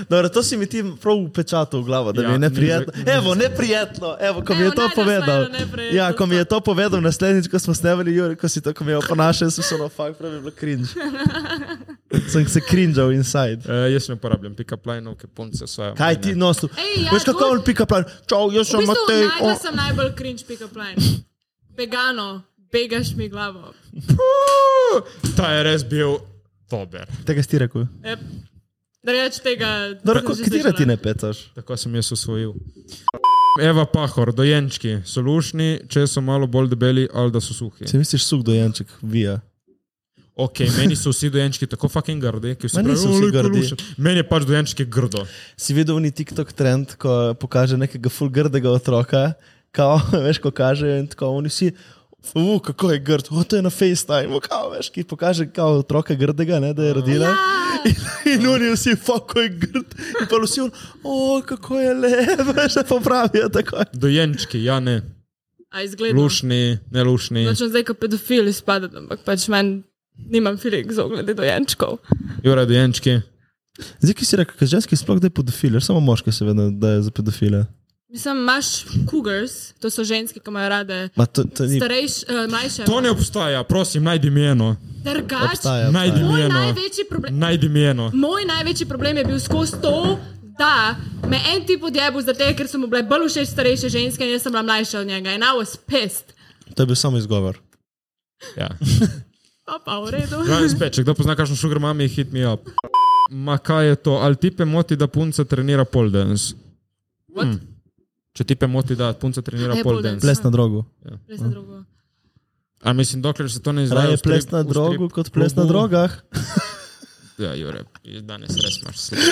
Speaker 4: Dobro, to si mi ti prav upečatil v glavo, da
Speaker 2: Ja,
Speaker 4: ja, mi je
Speaker 2: ni
Speaker 4: neprijetno.
Speaker 2: za- ni
Speaker 4: Evo, neprijetno, evo, ko mi
Speaker 1: Evo,
Speaker 4: je to
Speaker 1: najde
Speaker 4: povedal.
Speaker 1: svojo neprijetnost.
Speaker 4: Ja, ko mi je to povedal naslednjič, ko smo snemali, Jure, ko si to, ko mi je oponašal, sem se ono fakt pravi bilo cringe. sem se cringeal inside.
Speaker 2: Uh, jaz ne uporabljam pick-up line, ki punce so.
Speaker 4: Kaj ti nosil?
Speaker 1: Ej, ja,
Speaker 4: Veš kako
Speaker 1: to-
Speaker 4: on pika plan? Čau,
Speaker 1: V
Speaker 4: jaz sem
Speaker 1: bistvu
Speaker 4: Matej.
Speaker 1: najdla sem najbolj cringe pick-up line. Vegano, begaš mi glavo.
Speaker 2: Ta je res bil dober.
Speaker 4: Tega si ti rekel.
Speaker 1: Yep. Da reč E, tega.
Speaker 4: Dobro,
Speaker 1: sem
Speaker 4: ko-
Speaker 1: že
Speaker 4: katera ti
Speaker 1: slišala.
Speaker 4: ne pecaš?
Speaker 2: Tako sem jaz usvojil. Eva Pahor, dojenčki so lušni, če so malo bolj debeli ali da so suhi.
Speaker 4: Če misliš, suk dojenček, vija.
Speaker 2: Ok, meni so vsi dojenčki tako fucking grdi, ki so
Speaker 4: Ma niso vsi grdi."
Speaker 2: Meni je pač dojenčki grdo.
Speaker 4: Si videl ni TikTok trend, ko pokaže nekega fulgrdega otroka, kao, veš, ko kaže in tako oni vsi. Uf, kako je grd, o, to je na FaceTimeu, kao, veš, ki pokaže kao otroka grdega, ne, da je rodila.
Speaker 1: Ja,
Speaker 4: In, in oni vsi, kako je grd, in pa vsi, o, kako je lepo, veš, da popravijo tako.
Speaker 2: Dojenčki, ja ne,
Speaker 1: A izgledno.
Speaker 2: lušni, ne lušni.
Speaker 1: Nočem zdaj kot pedofil izpadati, ampak pač meni nimam filik za oglede dojenčkov.
Speaker 2: Jure, dojenčki.
Speaker 4: Zdaj, ki si rekel, da ženski sploh da je pedofil, samo moški se vedno da je za pedofile.
Speaker 1: Mislim, imaš cougars, to so ženske, ki imajo rade
Speaker 4: Ma to, to ni
Speaker 1: starejše, uh, mlajše.
Speaker 2: To ne obstaja, prosim, najdi mi eno.
Speaker 1: Drugač,
Speaker 4: obstaja.
Speaker 2: Najdi
Speaker 4: obstaja.
Speaker 2: mi
Speaker 1: moj
Speaker 2: eno.
Speaker 1: največji problem.
Speaker 2: Najdi mi eno.
Speaker 1: Moj največji problem je bil skozi to, da me en tip odjebil zaradi tega, ker so mu bile bolj všeč starejše ženske in jaz sem bila mlajša od njega. In I was pissed.
Speaker 4: To je bil samo izgovor.
Speaker 2: Ja.
Speaker 1: Pa pa v redu.
Speaker 2: Ryan Spet, če kdo pozna kakšno sugar mami, hit me up. Ma kaj je to? Ali tipe moti, da punca trenira pol danes?
Speaker 1: What?
Speaker 2: Če tipe moti, da punca trenira
Speaker 1: Ne,
Speaker 2: pol
Speaker 1: pole
Speaker 2: danes.
Speaker 1: dance.
Speaker 4: Ples na drogu.
Speaker 1: Res na drugo.
Speaker 2: A mislim, dokler se to ne izvaja.
Speaker 4: Raje
Speaker 2: v strip-
Speaker 4: ples na
Speaker 2: v strip
Speaker 4: drogu kot ples na
Speaker 2: klubu-
Speaker 4: drogah.
Speaker 2: Ja, Jure, danes res imaš slabo.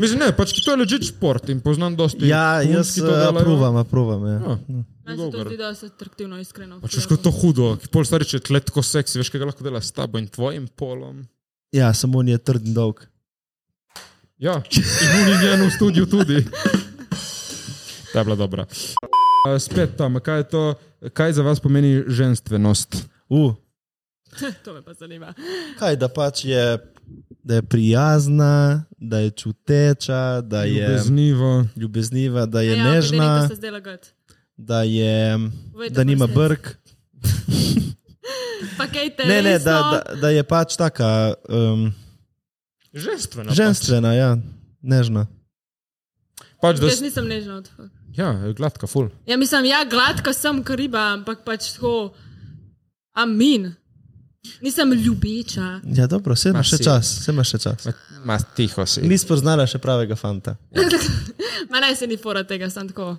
Speaker 2: Mislim, ne, pač ki to je ležit šport in poznam dosti.
Speaker 4: Ja,
Speaker 2: punc,
Speaker 4: jaz
Speaker 2: ki to delajo.
Speaker 4: aprovam, aprovam. Ja.
Speaker 2: Ja,
Speaker 1: Meni se to
Speaker 2: Dober.
Speaker 1: zdi, da se atraktivno, iskreno.
Speaker 2: Pač veš, kako je to hudo, ki pol stari, če je tle tako seksi, veš, kaj ga lahko dela s tabo in tvojim polom.
Speaker 4: ja, samo on je trd in dolg.
Speaker 2: Ja, in oni njeno v studiu tudi. Ta je bila dobra. A, Spet tam, kaj je to, kaj za vas pomeni ženstvenost?
Speaker 4: Uh,
Speaker 1: To me pa zanima.
Speaker 4: kaj da pač je, da je prijazna, da je čuteča, da je
Speaker 2: Ljubeznivo.
Speaker 4: ljubezniva, da je
Speaker 1: Ja, ampak
Speaker 4: nežna,
Speaker 1: Denika se zdela gud.
Speaker 4: da, je,
Speaker 1: Povejte,
Speaker 4: da nima
Speaker 1: prosim.
Speaker 4: brk.
Speaker 1: Pa kaj te
Speaker 4: Ne, ne,
Speaker 1: resno?
Speaker 4: da, da, da je pač taka
Speaker 2: No,
Speaker 4: um,
Speaker 2: Ženstvena.
Speaker 4: ženstvena, ja, nežna.
Speaker 2: Pač, pač da,
Speaker 1: Jaz
Speaker 2: s-
Speaker 1: nisem nežna od tega.
Speaker 2: ja, gladka, full.
Speaker 1: Ja, mislim, ja, gladka sem kariba, ampak pač tako. Amin. Nisem ljubeča.
Speaker 4: Ja, dobro, vse imaš še
Speaker 2: si.
Speaker 4: čas, vse imaš še čas.
Speaker 2: Ma tiho si.
Speaker 4: Nisi spoznala še pravega fanta.
Speaker 2: Ja,
Speaker 1: Ma naj se ni fora tega, sem tako.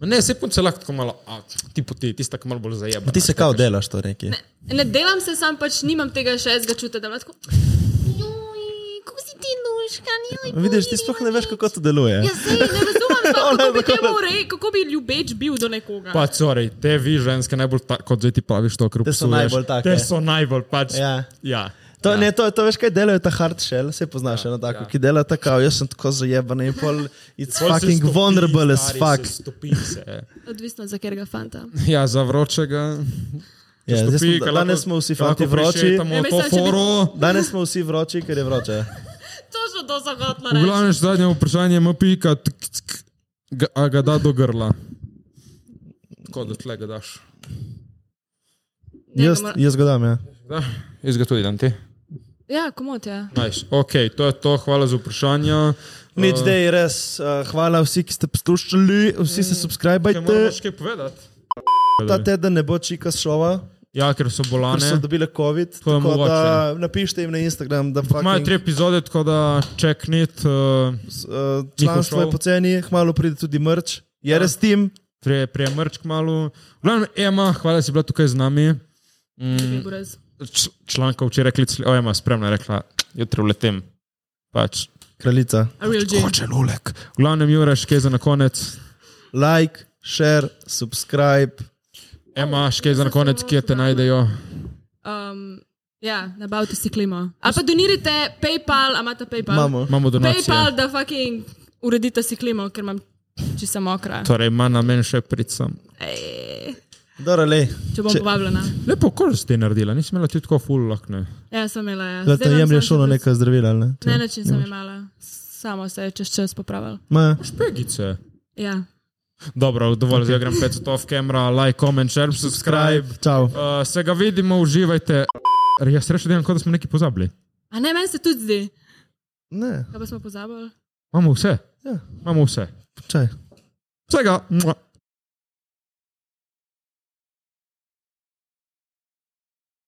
Speaker 2: Ne, se punce lahko tako malo, a, ti poti, tista, ki malo bolj zajema.
Speaker 4: Ti se kao delaš to neki.
Speaker 1: Ne delam se, sam pač nimam tega šestega čuta, da lahko. Joj, kako si ti nuška, ni
Speaker 4: Vidiš, ti sploh ne veš, kako to deluje.
Speaker 1: Ja, sej, ne razumem, sploh,
Speaker 4: Ona je
Speaker 1: kako, bi
Speaker 4: tako-
Speaker 1: temu re, kako bi ljubeč bil do nekoga.
Speaker 2: Pa, sorry, te vi ženske najbolj, ta, kot zdaj ti praviš, to kruh.
Speaker 4: Te so najbolj take.
Speaker 2: Te so najbolj pač.
Speaker 4: Ja.
Speaker 2: ja.
Speaker 4: To, ja. ne, to, to veš, kaj delajo ta hard shell, se poznaš ja, eno tako, ja. ki dela tako, jaz sem tako zajeban in pol, it's
Speaker 2: Pol se
Speaker 4: pol fucking
Speaker 2: stopi,
Speaker 4: vulnerable as
Speaker 2: stari,
Speaker 4: fuck.
Speaker 2: se Stopi se.
Speaker 1: Odvisno za katerega fanta.
Speaker 2: Ja, za vročega.
Speaker 4: Ja, zdaj
Speaker 2: Stopi,
Speaker 4: smo,
Speaker 2: ko lahko-
Speaker 4: danes smo vsi
Speaker 2: ko lahko
Speaker 4: fanti vroči,
Speaker 2: prešetamo
Speaker 1: Ne,
Speaker 2: to
Speaker 1: mislim, če bi-
Speaker 2: foro.
Speaker 4: danes smo vsi vroči, ker je vroče.
Speaker 1: Točno to sem hotla
Speaker 2: V
Speaker 1: reči.
Speaker 2: glavnem, še zadnje vprašanje ima pika, tk, tk, ga- a ga da do grla. Tako da tle ga daš.
Speaker 1: ne
Speaker 4: Jaz,
Speaker 1: mora-
Speaker 4: jaz ga dam, ja.
Speaker 2: Da, jaz ga tudi dam ti.
Speaker 1: Ja, komot je. Ja.
Speaker 4: Mm.
Speaker 2: Nice. Ok, to je to, hvala za vprašanja. Eh,
Speaker 4: Nič, da je res. Uh, hvala vsi, ki ste poslušali, vsi
Speaker 2: Če
Speaker 4: se
Speaker 2: moraš
Speaker 4: subskrbajte.
Speaker 2: kaj povedati.
Speaker 4: Ta teden ne bo čika šova,
Speaker 2: Ja, ker so
Speaker 4: ker so
Speaker 2: bolane.
Speaker 4: dobili
Speaker 2: To
Speaker 4: COVID.
Speaker 2: je
Speaker 4: Tako da
Speaker 2: mogoče.
Speaker 4: napišite jim na Instagram, da
Speaker 2: Imajo tri
Speaker 4: fucking,
Speaker 2: epizode, tako da čeknit. Uh,
Speaker 4: uh, članstvo je
Speaker 2: show.
Speaker 4: poceni, hmalo pride tudi mrč.
Speaker 2: Ja.
Speaker 4: Je res tim,
Speaker 2: Pre, premrčk malo. Glavno, Ema, hvala, da si bila tukaj z nami.
Speaker 1: Mm.
Speaker 2: Č- Članka včeraj klicali, o Ema, spremna je rekla, jutri vletem. Pač,
Speaker 4: kraljica.
Speaker 1: A real G.
Speaker 2: hoče nulek. V glavnem, Juraš, kaj za na konec?
Speaker 4: Like, share, subscribe.
Speaker 2: Ema, še kaj za na konec, kje te najdejo?
Speaker 1: Um, ja, nabavite si klimo. Ali pa donirajte PayPal, a imate PayPal?
Speaker 4: Imamo.
Speaker 2: Imamo donacije.
Speaker 1: PayPal, da fucking uredite si klimo, ker imam čisto mokra.
Speaker 2: Torej, ima na meni še pricam.
Speaker 1: Ej,
Speaker 4: Dobro, le.
Speaker 1: če bom
Speaker 4: Če-
Speaker 1: povabljena.
Speaker 2: Lepo, kar si ti naredila, nisi imela ti tako full lahne.
Speaker 1: Ja, sem imela. Ja.
Speaker 4: Da
Speaker 1: Zdaj
Speaker 4: te
Speaker 1: imam
Speaker 4: jemlješ
Speaker 1: samo
Speaker 4: ono
Speaker 1: še
Speaker 4: neka zdravila, ali ne?
Speaker 1: Ne, način sem imela. Samo se je čez čas popravil.
Speaker 4: Ma,
Speaker 2: Špegice.
Speaker 1: Ja.
Speaker 2: Dobro, dovolj, zdaj grem 500 v kamera, like, comment, share, subscribe.
Speaker 4: Čau.
Speaker 2: Uh, se ga vidimo, uživajte. Jaz rečem, da smo nekaj pozabili.
Speaker 1: A ne, meni se tudi zdi,
Speaker 4: Ne,
Speaker 1: da smo pozabili.
Speaker 2: Imamo vse.
Speaker 4: Ja.
Speaker 2: Imamo vse.
Speaker 4: čaj.
Speaker 2: Vsega. Mua.